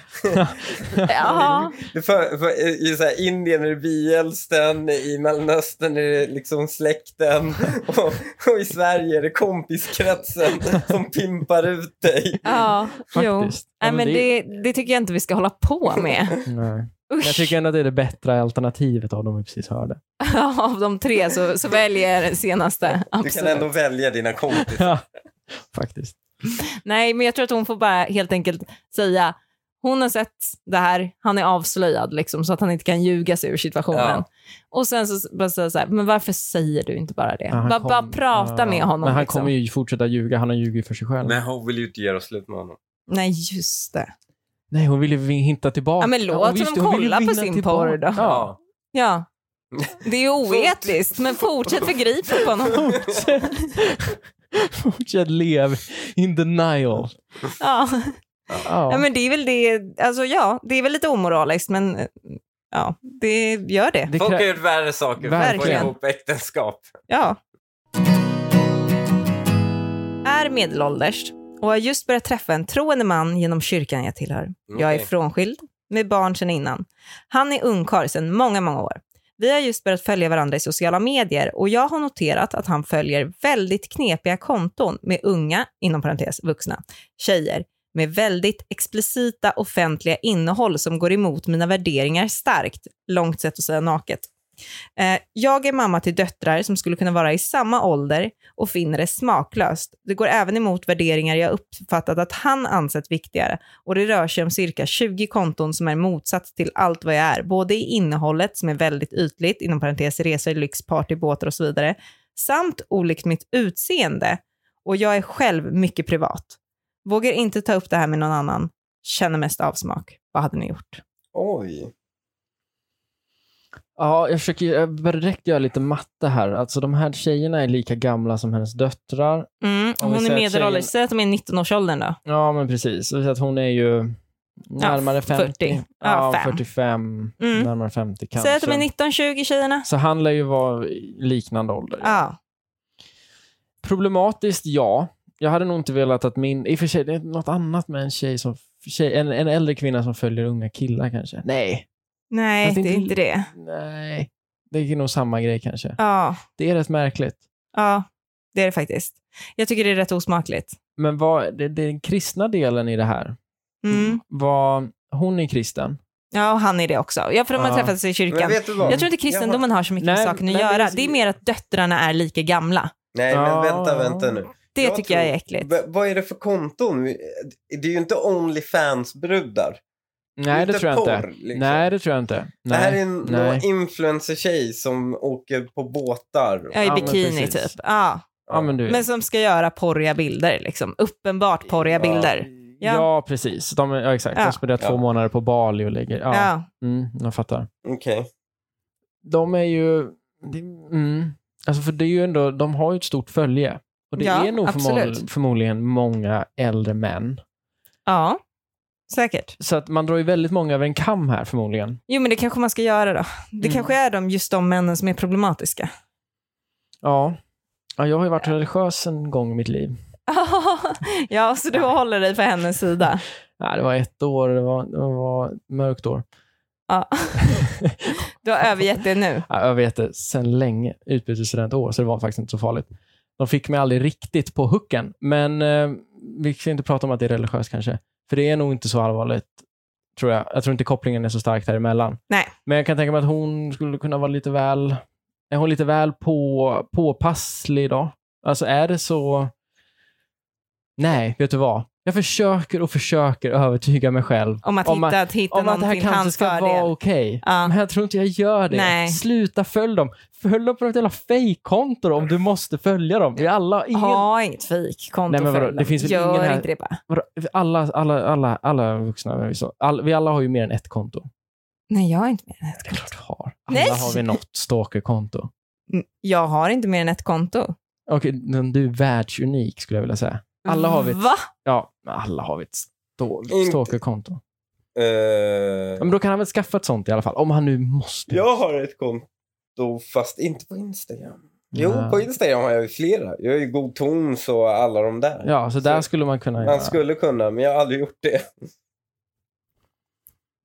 Speaker 2: Jaha.
Speaker 3: Det för, för, eh, I så här, Indien är det bielsten, i Mellanöstern är det liksom släkten och, och i Sverige är det kompiskretsen som pimpar ut dig.
Speaker 2: Ja, jo.
Speaker 1: Faktiskt.
Speaker 2: Nej,
Speaker 1: Ja,
Speaker 2: men det, det tycker jag inte vi ska hålla på med.
Speaker 1: Nej. Men Jag
Speaker 2: Usch.
Speaker 1: tycker ändå att det är det bättre alternativet av dem vi precis hörde.
Speaker 2: Av de tre så, så väljer jag den senaste.
Speaker 3: Du
Speaker 2: Absolut.
Speaker 3: kan ändå välja dina kompisar.
Speaker 1: Ja, faktiskt.
Speaker 2: Nej, men jag tror att hon får bara helt enkelt säga hon har sett det här, han är avslöjad liksom, så att han inte kan ljuga sig ur situationen.
Speaker 3: Ja.
Speaker 2: Och sen så bara säga så här, men varför säger du inte bara det?
Speaker 1: Ja, han
Speaker 2: bara,
Speaker 1: kom-
Speaker 2: bara prata
Speaker 1: ja.
Speaker 2: med honom.
Speaker 1: Men han
Speaker 2: liksom.
Speaker 1: kommer ju fortsätta ljuga. Han har ljugit för sig själv. Nej,
Speaker 3: hon vill ju inte göra slut med honom.
Speaker 2: Nej, just det.
Speaker 1: hon vill ju vin- hinta tillbaka.
Speaker 2: Ja, men låt
Speaker 1: hon- just
Speaker 2: honom
Speaker 1: hon vill ju
Speaker 2: kolla på
Speaker 1: vinna
Speaker 2: sin
Speaker 1: tillbaka.
Speaker 2: porr då.
Speaker 1: Ja.
Speaker 2: Ja. Det är ju oetiskt, men fortsätt förgripa på honom.
Speaker 1: Fortsätt. Fortsätt lev in denial.
Speaker 2: Ja.
Speaker 1: Ja.
Speaker 2: Ja, men det är väl det, alltså ja, det är väl lite omoraliskt, men ja, det gör det.
Speaker 1: Det
Speaker 3: Folk har
Speaker 1: krä-
Speaker 3: gjort värre saker för att få
Speaker 1: Verkligen.
Speaker 3: ihop äktenskap.
Speaker 2: Ja. Är medelålders och har just börjat träffa en troende man genom kyrkan jag tillhör. Jag är
Speaker 3: Okej.
Speaker 2: frånskild, med barn sedan innan. Han är ungkarl sedan många, många år. Vi har just börjat följa varandra i sociala medier och jag har noterat att han följer väldigt knepiga konton med unga, inom parentes vuxna, tjejer med väldigt explicita offentliga innehåll som går emot mina värderingar starkt. Långt sätt att säga naket. Eh, Jag är mamma till döttrar som skulle kunna vara i samma ålder och finner det smaklöst. Det går även emot värderingar jag uppfattat att han ansett viktigare och det rör sig om cirka 20 konton som är motsats till allt vad jag är, både i innehållet som är väldigt ytligt, inom parentes resor, lyx, party, båtar och så vidare, samt olikt mitt utseende och jag är själv mycket privat. Vågar inte ta upp det här med någon annan. Känner mest avsmak. Vad hade ni gjort?
Speaker 3: Oj.
Speaker 1: Ja, jag försöker jag börjar direkt göra lite matte här. Alltså de här tjejerna är lika gamla som hennes döttrar.
Speaker 2: Mm,
Speaker 1: Om vi
Speaker 2: hon är
Speaker 1: säger att
Speaker 2: medelålders,
Speaker 1: tjejen-
Speaker 2: säg att de är 19-årsåldern då.
Speaker 1: Ja, men precis. Så att hon är ju närmare 50.
Speaker 2: 40. Ja,
Speaker 1: Ja,
Speaker 2: fem.
Speaker 1: 45.
Speaker 2: Mm.
Speaker 1: Närmare 50 kanske.
Speaker 2: Säg att de är 19-20 tjejerna.
Speaker 1: Så han lär ju vara i liknande ålder.
Speaker 2: Ja.
Speaker 1: Problematiskt, ja. Jag hade nog inte velat att min... I och för sig, det är något annat med en tjej som... Tjej, en, en äldre kvinna som följer unga killar kanske. Nej.
Speaker 2: Nej,
Speaker 1: Fast
Speaker 2: det
Speaker 1: inte-
Speaker 2: är inte det.
Speaker 1: Nej. Det är nog samma grej kanske.
Speaker 2: Ja,
Speaker 1: Det är rätt märkligt.
Speaker 2: ja, det är det faktiskt. Jag tycker det är rätt osmakligt.
Speaker 1: Men vad, det, det är den kristna delen i det här.
Speaker 2: Mm.
Speaker 1: Vad, hon är kristen.
Speaker 2: Ja, och han är det också. Ja, för de har
Speaker 1: Ja.
Speaker 2: träffats i
Speaker 3: Men
Speaker 2: kyrkan.
Speaker 3: vet du vad?
Speaker 2: Jag tror inte kristendomen har så mycket med
Speaker 1: Nej,
Speaker 2: saken att
Speaker 1: nej,
Speaker 2: göra.
Speaker 1: det är-
Speaker 2: Det är mer att döttrarna är lika gamla.
Speaker 3: Nej, men
Speaker 1: Ja.
Speaker 3: vänta, vänta nu.
Speaker 2: Det
Speaker 3: Jag
Speaker 2: tycker
Speaker 3: tror-
Speaker 2: jag är äckligt.
Speaker 3: V- vad är det för konton? Det är ju inte Onlyfans-brudar.
Speaker 1: Nej, det
Speaker 3: inte
Speaker 1: tror jag inte.
Speaker 3: porr, liksom.
Speaker 1: Nej, det tror jag inte. Nej.
Speaker 3: Det här är en någon
Speaker 1: nej.
Speaker 3: influencer-tjej som åker på båtar.
Speaker 2: Ja, i
Speaker 1: Ja, men
Speaker 2: bikini
Speaker 1: precis.
Speaker 2: typ. Ja.
Speaker 1: ja, men du vet.
Speaker 2: Men som ska göra porriga bilder, liksom. Uppenbart porriga
Speaker 3: Ja.
Speaker 2: bilder.
Speaker 1: ja.
Speaker 2: Ja.
Speaker 1: precis. De, ja, exakt.
Speaker 2: Ja.
Speaker 1: De spenderar två
Speaker 3: Ja.
Speaker 1: månader på Bali och lägger... Ja,
Speaker 2: Ja.
Speaker 1: Mm, jag fattar.
Speaker 3: Okej.
Speaker 1: De är ju... Det, mm. Alltså för det är ju ändå, de har ju ett stort följe. Och det
Speaker 2: Ja,
Speaker 1: är nog förmodligen,
Speaker 2: absolut.
Speaker 1: förmodligen många äldre män.
Speaker 2: ja, säkert.
Speaker 1: Så att man drar ju väldigt många över en kam här förmodligen.
Speaker 2: Jo, men det kanske man ska göra då. Det
Speaker 1: Mm.
Speaker 2: kanske är de, just de männen som är problematiska.
Speaker 1: Ja. ja jag har ju varit religiös en gång i mitt liv.
Speaker 2: ja, så du håller dig på hennes sida.
Speaker 1: Nej, det var ett år, det var, det var ett mörkt år.
Speaker 2: Ja. Du har övergett det nu.
Speaker 1: Ja, jag vet det, sen länge. Utbytesstudentår, så det var faktiskt inte så farligt. De fick mig aldrig riktigt på hooken, men eh, vi ska inte prata om att det är religiöst kanske. För det är nog inte så allvarligt, tror jag. Jag tror inte kopplingen är så stark däremellan.
Speaker 2: Nej.
Speaker 1: Men jag kan tänka mig att hon skulle kunna vara lite väl... Är hon lite väl på, påpasslig idag? Alltså är det så... Nej, vet du vad? Jag försöker och försöker övertyga mig själv
Speaker 2: Om att
Speaker 1: Om
Speaker 2: hitta,
Speaker 1: man-
Speaker 2: att hitta
Speaker 1: om att det
Speaker 2: någon
Speaker 1: här
Speaker 2: till
Speaker 1: kanske
Speaker 2: hans
Speaker 1: ska
Speaker 2: fördel.
Speaker 1: vara okej.
Speaker 2: Ja.
Speaker 1: Men jag tror inte jag gör det.
Speaker 2: Nej.
Speaker 1: Sluta följ dem. Följ dem på något jävla fejkkonto om du måste följa dem. Vi alla, ingen,
Speaker 2: Ha inget fejkkonto
Speaker 1: Nej, men vadå,
Speaker 2: för
Speaker 1: det finns väl
Speaker 2: Gör
Speaker 1: ingen här-
Speaker 2: inte det bara.
Speaker 1: vadå? alla, alla, alla, alla vuxna, men vi så- all, vi alla har ju mer än ett konto.
Speaker 2: Nej, jag har inte mer än
Speaker 1: Det
Speaker 2: ett
Speaker 1: är
Speaker 2: konto.
Speaker 1: klart du har. Alla
Speaker 2: Nej.
Speaker 1: har vi något stalkerkonto.
Speaker 2: Mm, Jag har inte mer än ett konto.
Speaker 1: Okej, men du är världsunik skulle jag vilja säga. Alla har vi ett,
Speaker 2: Va?
Speaker 1: ja, men alla har vi ett stå-
Speaker 3: Inte.
Speaker 1: stalkerkonto.
Speaker 3: Eh,
Speaker 1: Ja, Men då kan han väl skaffa ett sånt i alla fall, om han nu måste.
Speaker 3: jag har ett konto, fast inte på Instagram. Jo,
Speaker 1: Ja.
Speaker 3: på Instagram har jag ju flera. Jag är ju god ton så alla de där.
Speaker 1: Ja, så där skulle man kunna göra.
Speaker 3: Man skulle kunna, men jag har aldrig gjort det.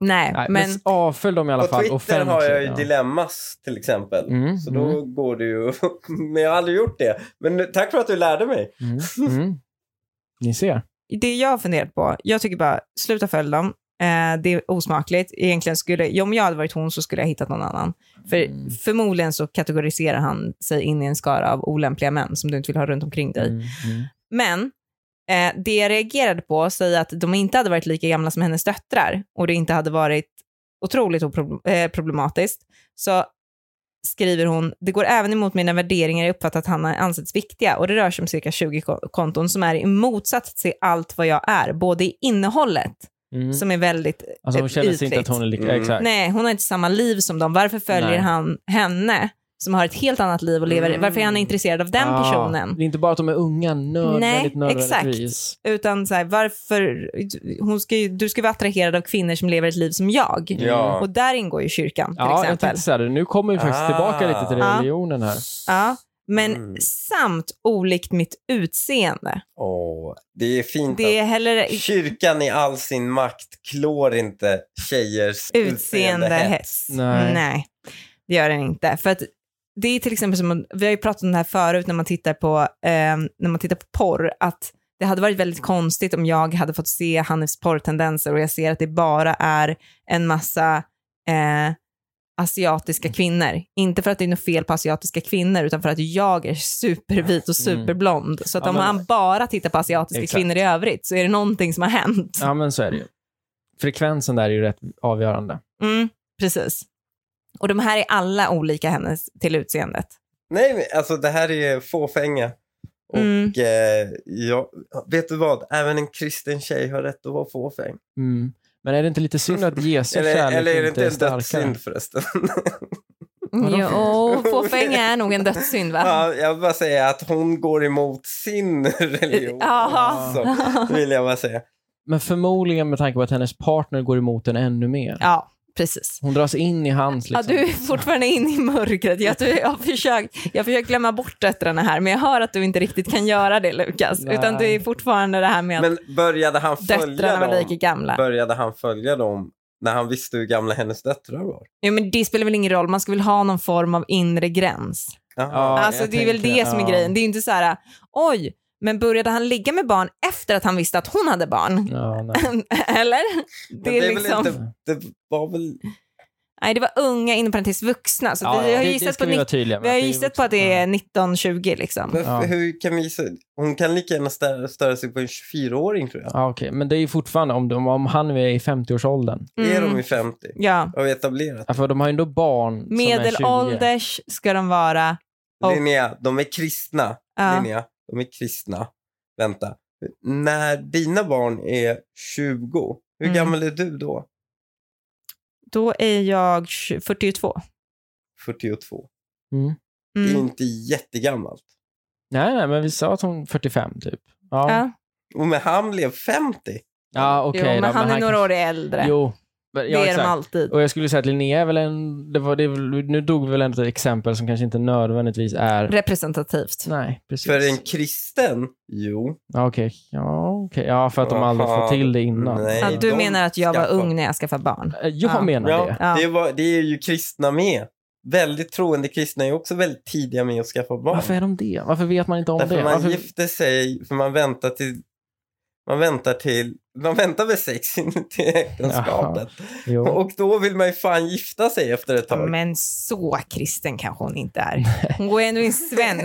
Speaker 2: Nej,
Speaker 1: Nej, men
Speaker 2: men
Speaker 1: avfölj dem i alla
Speaker 3: På
Speaker 1: fall.
Speaker 3: Twitter har jag ju
Speaker 1: offentligt, ja.
Speaker 3: dilemmas till exempel.
Speaker 1: Mm,
Speaker 3: Så då går det ju... men jag har aldrig gjort det. Men tack för att du lärde mig.
Speaker 1: Mm, mm. Ni ser.
Speaker 2: det jag har funderat på, jag tycker bara sluta följa dem. Eh, det är osmakligt. Egentligen skulle, ja, om jag hade varit hon så skulle jag hittat någon annan. För
Speaker 1: Mm.
Speaker 2: förmodligen så kategoriserar han sig in i en skara av olämpliga män som du inte vill ha runt omkring dig.
Speaker 1: Mm, mm.
Speaker 2: Men eh, det jag reagerade på, säg att de inte hade varit lika gamla som hennes döttrar och det inte hade varit otroligt oproblem- eh, problematiskt, så skriver hon, det går även emot mina värderingar jag uppfattat att han har ansetts viktiga och det rör sig om cirka 20 ko- konton som är i motsats till allt vad jag är, både i innehållet
Speaker 1: Mm.
Speaker 2: som är väldigt
Speaker 1: Alltså hon
Speaker 2: eh,
Speaker 1: känner sig inte att
Speaker 2: ytligt.
Speaker 1: hon är lika...
Speaker 3: Mm.
Speaker 1: Exakt.
Speaker 2: Nej, hon har inte samma liv som dem. Varför följer
Speaker 1: Nej.
Speaker 2: han henne som har ett helt annat liv och lever,
Speaker 3: Mm.
Speaker 2: varför är han intresserad av den
Speaker 1: Ah,
Speaker 2: personen?
Speaker 1: Det är inte bara att de är unga nödvändigt
Speaker 2: Nej, exakt.
Speaker 1: nödvändigtvis.
Speaker 2: Utan så här, varför, hon ska ju, du ska vara attraherad av kvinnor som lever ett liv som jag.
Speaker 3: Ja.
Speaker 2: Och där ingår ju kyrkan till
Speaker 1: Ja, jag
Speaker 2: exempel.
Speaker 1: tänkte säga det. Nu kommer vi faktiskt
Speaker 3: Ah.
Speaker 1: tillbaka lite till
Speaker 2: Ja.
Speaker 1: religionen här.
Speaker 2: Ja, men
Speaker 3: Mm.
Speaker 2: samt olikt mitt utseende.
Speaker 3: Åh, det är fint
Speaker 2: Det
Speaker 3: att
Speaker 2: är hellre
Speaker 3: kyrkan i all sin makt klår inte tjejers
Speaker 2: utseendehets.
Speaker 1: Nej.
Speaker 2: det gör den inte. För att det är till exempel som, vi har ju pratat om det här förut när man tittar på, eh, när man tittar på porr, att det hade varit väldigt konstigt om jag hade fått se Hanifs porrtendenser och jag ser att det bara är en massa eh, asiatiska kvinnor. Inte för att det är något fel på asiatiska kvinnor, utan för att jag är supervit och superblond. Så att
Speaker 1: Mm. Ja,
Speaker 2: om
Speaker 1: men-
Speaker 2: han bara tittar på asiatiska
Speaker 1: Exakt.
Speaker 2: kvinnor i övrigt så är det någonting som har hänt.
Speaker 1: Ja, men så är det ju. Frekvensen där är ju rätt avgörande.
Speaker 2: Mm, precis. Och de här är alla olika hennes till utseendet.
Speaker 3: Nej, men alltså det här är fåfänga. Och
Speaker 2: Mm.
Speaker 3: eh, jag, vet du vad? Även en kristen tjej har rätt att vara fåfäng.
Speaker 1: Mm. Men är det inte lite synd att Jesus
Speaker 3: Eller,
Speaker 1: kärlek
Speaker 3: eller är
Speaker 1: inte
Speaker 3: det inte
Speaker 1: är
Speaker 3: en
Speaker 1: starkare?
Speaker 3: dödssynd förresten?
Speaker 1: Vadå?
Speaker 2: Jo, fåfänga är nog en dödssynd va?
Speaker 3: ja, jag vill bara säga att hon går emot sin religion.
Speaker 2: Ja.
Speaker 3: Så, vill jag bara säga.
Speaker 1: Men förmodligen med tanke på att hennes partner går emot henne ännu mer.
Speaker 2: Ja, precis.
Speaker 1: Hon dras in i hans
Speaker 2: Ja,
Speaker 1: liksom.
Speaker 2: du är fortfarande inne i mörkret. Jag, du, jag, har försökt, jag har försökt glömma bort döttrarna här, men jag hör att du inte riktigt kan göra det Lukas.
Speaker 1: Nej.
Speaker 2: Utan du är fortfarande det här med att
Speaker 3: Men började han följa
Speaker 2: döttrarna var
Speaker 3: dem?
Speaker 2: lika gamla.
Speaker 3: Började han följa dem när han visste hur gamla hennes döttrar var?
Speaker 2: Jo, men det spelar väl ingen roll, man ska väl ha någon form av inre gräns.
Speaker 1: Ja,
Speaker 2: alltså
Speaker 1: jag
Speaker 2: det är väl
Speaker 1: tänker-
Speaker 2: det som är
Speaker 1: ja.
Speaker 2: grejen. Det är ju inte så här, oj, men började han ligga med barn efter att han visste att hon hade barn?
Speaker 1: Ja, nej.
Speaker 2: Eller?
Speaker 3: Men
Speaker 2: Det, är liksom,
Speaker 3: väl inte, det var väl...
Speaker 2: Nej, det var unga inom parentes vuxna. Så
Speaker 1: Ja,
Speaker 2: vi
Speaker 1: ja, det-
Speaker 2: har ju
Speaker 1: det
Speaker 2: gissat
Speaker 1: ska
Speaker 2: på,
Speaker 1: vi vara
Speaker 2: nitt-
Speaker 1: tydliga med.
Speaker 2: vi har
Speaker 1: Att det är
Speaker 2: gissat på att det är 1920 liksom.
Speaker 3: Men
Speaker 1: Ja.
Speaker 3: Hur kan vi... se- Hon kan lika gärna störa, störa sig på en 24-åring tror jag.
Speaker 1: Ja, okej. Men det är ju fortfarande om, de- om han är i 50-årsåldern.
Speaker 3: Är
Speaker 2: Mm.
Speaker 3: de i 50?
Speaker 2: Ja.
Speaker 3: Har vi etablerat?
Speaker 1: Ja, för de har ju ändå barn som är 20.
Speaker 2: Medelålders ska de vara Och-
Speaker 3: Linnea, de är kristna.
Speaker 2: Ja.
Speaker 3: Linnea, de är kristna. Vänta. När dina barn är 20, hur
Speaker 2: Mm.
Speaker 3: gammal är du då?
Speaker 2: Då är jag tj- 42.
Speaker 3: 42. Det är
Speaker 2: Mm.
Speaker 3: inte jättegammalt.
Speaker 1: Nej, nej, men vi sa att hon 45 typ. Ja, ja.
Speaker 2: Ja.
Speaker 3: Och men han blev 50.
Speaker 1: okej.
Speaker 2: jo, men
Speaker 1: då,
Speaker 2: han är några
Speaker 1: kanske-
Speaker 2: år äldre.
Speaker 1: Jo, men- ja,
Speaker 2: det är
Speaker 1: exakt.
Speaker 2: de alltid.
Speaker 1: Och jag skulle säga att Linnea är väl en... Det var, det är väl, nu dog vi väl ändå ett exempel som kanske inte nödvändigtvis är...
Speaker 2: Representativt.
Speaker 1: Nej, precis.
Speaker 3: För en kristen? Jo.
Speaker 1: Ja, okej. Ja, okej. ja, för att de aldrig
Speaker 3: Aha.
Speaker 1: får till det innan.
Speaker 3: Nej,
Speaker 2: Ja, du
Speaker 3: de
Speaker 2: menar att jag var
Speaker 3: skaffar-
Speaker 2: ung när jag skaffade barn?
Speaker 1: Eh, Jag
Speaker 2: Ja.
Speaker 1: menar
Speaker 3: Ja,
Speaker 1: det.
Speaker 2: Ja.
Speaker 3: Det, var, det är ju kristna med. Väldigt troende kristna är också väldigt tidiga med att skaffa barn.
Speaker 1: Varför är de det? Varför vet man inte om
Speaker 3: Därför
Speaker 1: det?
Speaker 3: man
Speaker 1: Varför...
Speaker 3: gifter sig, för man väntar till... Man väntar till... Man väntar väl sex in till äktenskapet.
Speaker 1: Jo.
Speaker 3: Och då vill man ju fan gifta sig efter ett tag.
Speaker 2: Men så kristen kanske hon inte är. Hon går ändå i en svensk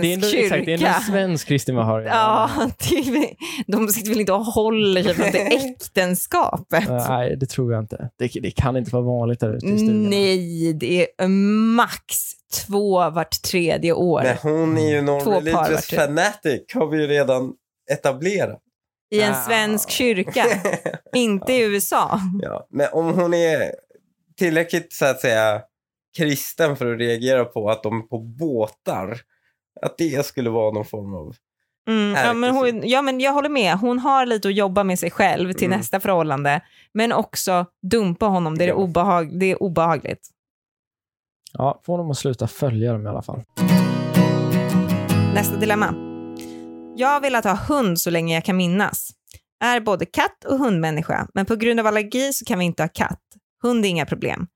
Speaker 1: Det är ändå,
Speaker 2: kyrka.
Speaker 1: exakt, det är ändå en svensk kristen man har.
Speaker 2: Ja, det är väl- de sitter väl inte och håller sig från det äktenskapet.
Speaker 1: Eh, Nej, det tror jag inte. Det, det kan inte vara vanligt där ute i stugan.
Speaker 2: Nej, det är max två vart tredje år
Speaker 3: Men hon är
Speaker 2: par
Speaker 3: ju
Speaker 2: var
Speaker 3: non-religious
Speaker 2: typ.
Speaker 3: fanatic, har vi ju redan etablerat.
Speaker 2: i en
Speaker 1: Ah.
Speaker 2: svensk kyrka. Inte i USA.
Speaker 3: ja. Men om hon är tillräckligt så att säga kristen för att reagera på att de är på båtar, att det skulle vara någon form av...
Speaker 2: Mm, ja, men
Speaker 3: Ärkesynd.
Speaker 2: hon, ja, men jag håller med. Hon har lite att jobba med sig själv till
Speaker 3: Mm.
Speaker 2: nästa förhållande, men också dumpa honom. Det är, det
Speaker 3: Ja.
Speaker 2: obehag, det är obehagligt.
Speaker 1: Ja, få dem att sluta följa dem i alla fall.
Speaker 2: Nästa dilemma. Jag har velat ha hund så länge jag kan minnas. Är både katt och hundmänniska, men på grund av allergi så kan vi inte ha katt. Hund är inga problem.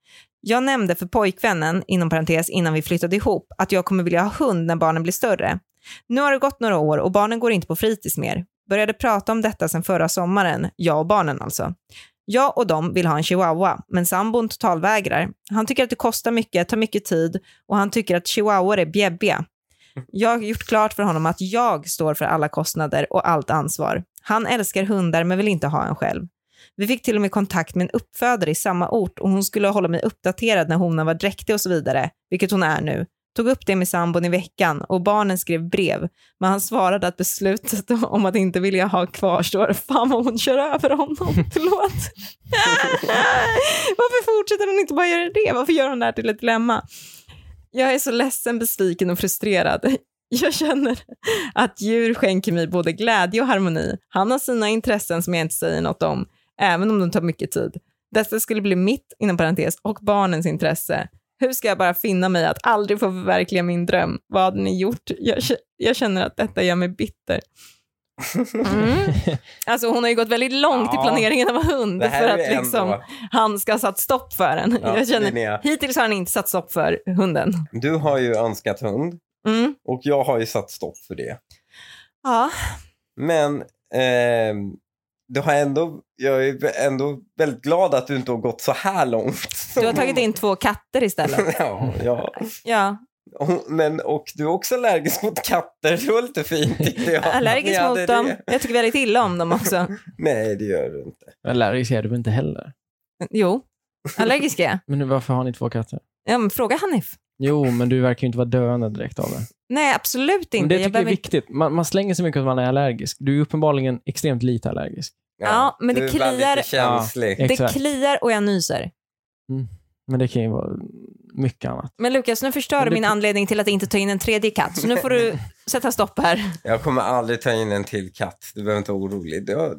Speaker 2: Jag nämnde för pojkvännen, inom parentes, innan vi flyttade ihop, att jag kommer vilja ha hund när barnen blir större. Nu har det gått några år och barnen går inte på fritids mer. Började prata om detta sen förra sommaren, jag och barnen alltså. Jag och de vill ha en chihuahua, men sambon totalvägrar. Han tycker att det kostar mycket, tar mycket tid och han tycker att chihuahuor är bjäbbiga. Jag har gjort klart för honom att jag står för alla kostnader och allt ansvar. Han älskar hundar men vill inte ha en själv. Vi fick till och med kontakt med en uppfödare i samma ort och hon skulle hålla mig uppdaterad när honan var dräktig och så vidare, vilket hon är nu. Tog upp det med sambon i veckan och barnen skrev brev, men han svarade att beslutet om att inte vilja ha kvarstår. Fan vad hon kör över honom, förlåt. Varför fortsätter hon inte bara göra det? Varför gör hon det här till ett dilemma? Jag är så ledsen, besviken och frustrerad. Jag känner att djur skänker mig både glädje och harmoni. Han har sina intressen som jag inte säger något om, även om de tar mycket tid. Detta skulle bli mitt, inom parentes, och barnens intresse. Hur ska jag bara finna mig att aldrig få förverkliga min dröm? Vad hade ni gjort? Jag, k- jag känner att detta gör mig bitter. Mm. Alltså hon har ju gått väldigt långt i
Speaker 3: Ja.
Speaker 2: planeringen av hund
Speaker 3: Det
Speaker 2: för
Speaker 3: här
Speaker 2: att
Speaker 3: är
Speaker 2: liksom
Speaker 3: ändå...
Speaker 2: han ska ha satt stopp för den.
Speaker 3: Ja,
Speaker 2: jag känner,
Speaker 3: Linnea,
Speaker 2: hittills har han inte satt stopp för hunden.
Speaker 3: du har ju önskat hund
Speaker 2: Mm.
Speaker 3: och jag har ju satt stopp för det.
Speaker 2: Ja.
Speaker 3: Men ehm, du har ändå, jag är ändå väldigt glad att du inte har gått så här långt.
Speaker 2: Du har tagit in två katter istället.
Speaker 3: ja, ja.
Speaker 2: Ja.
Speaker 3: Och- Men, och du är också allergisk mot katter. Det var lite fint tyckte jag.
Speaker 2: Allergisk
Speaker 3: Ni hade
Speaker 2: mot dem.
Speaker 3: det.
Speaker 2: Jag tycker väldigt illa om dem också.
Speaker 3: Nej, det gör du inte.
Speaker 1: Men Larry ser du väl inte heller?
Speaker 2: Jo, allergisk är jag.
Speaker 1: Men nu, varför har ni två katter?
Speaker 2: ja, men Fråga Hanif.
Speaker 1: Jo, men du verkar ju inte vara döende direkt av det.
Speaker 2: Nej, absolut
Speaker 1: Men det
Speaker 2: inte.
Speaker 1: tycker
Speaker 2: jag
Speaker 1: jag,
Speaker 2: behöver
Speaker 1: är
Speaker 2: inte-
Speaker 1: viktigt. Man, man slänger så mycket att man är allergisk. Du är uppenbarligen extremt lite allergisk.
Speaker 2: Ja, men det
Speaker 3: du är väldigt
Speaker 2: kliar-
Speaker 3: känslig.
Speaker 2: det
Speaker 1: Exakt.
Speaker 2: kliar och jag nyser.
Speaker 1: Men det kan ju vara mycket annat.
Speaker 2: Men Lukas, nu förstör
Speaker 1: Men
Speaker 2: du
Speaker 1: det-
Speaker 2: min anledning till att inte ta in en tredje katt, så nu får du sätta stopp här.
Speaker 3: Jag kommer aldrig ta in en till katt. Du behöver inte vara orolig. Du har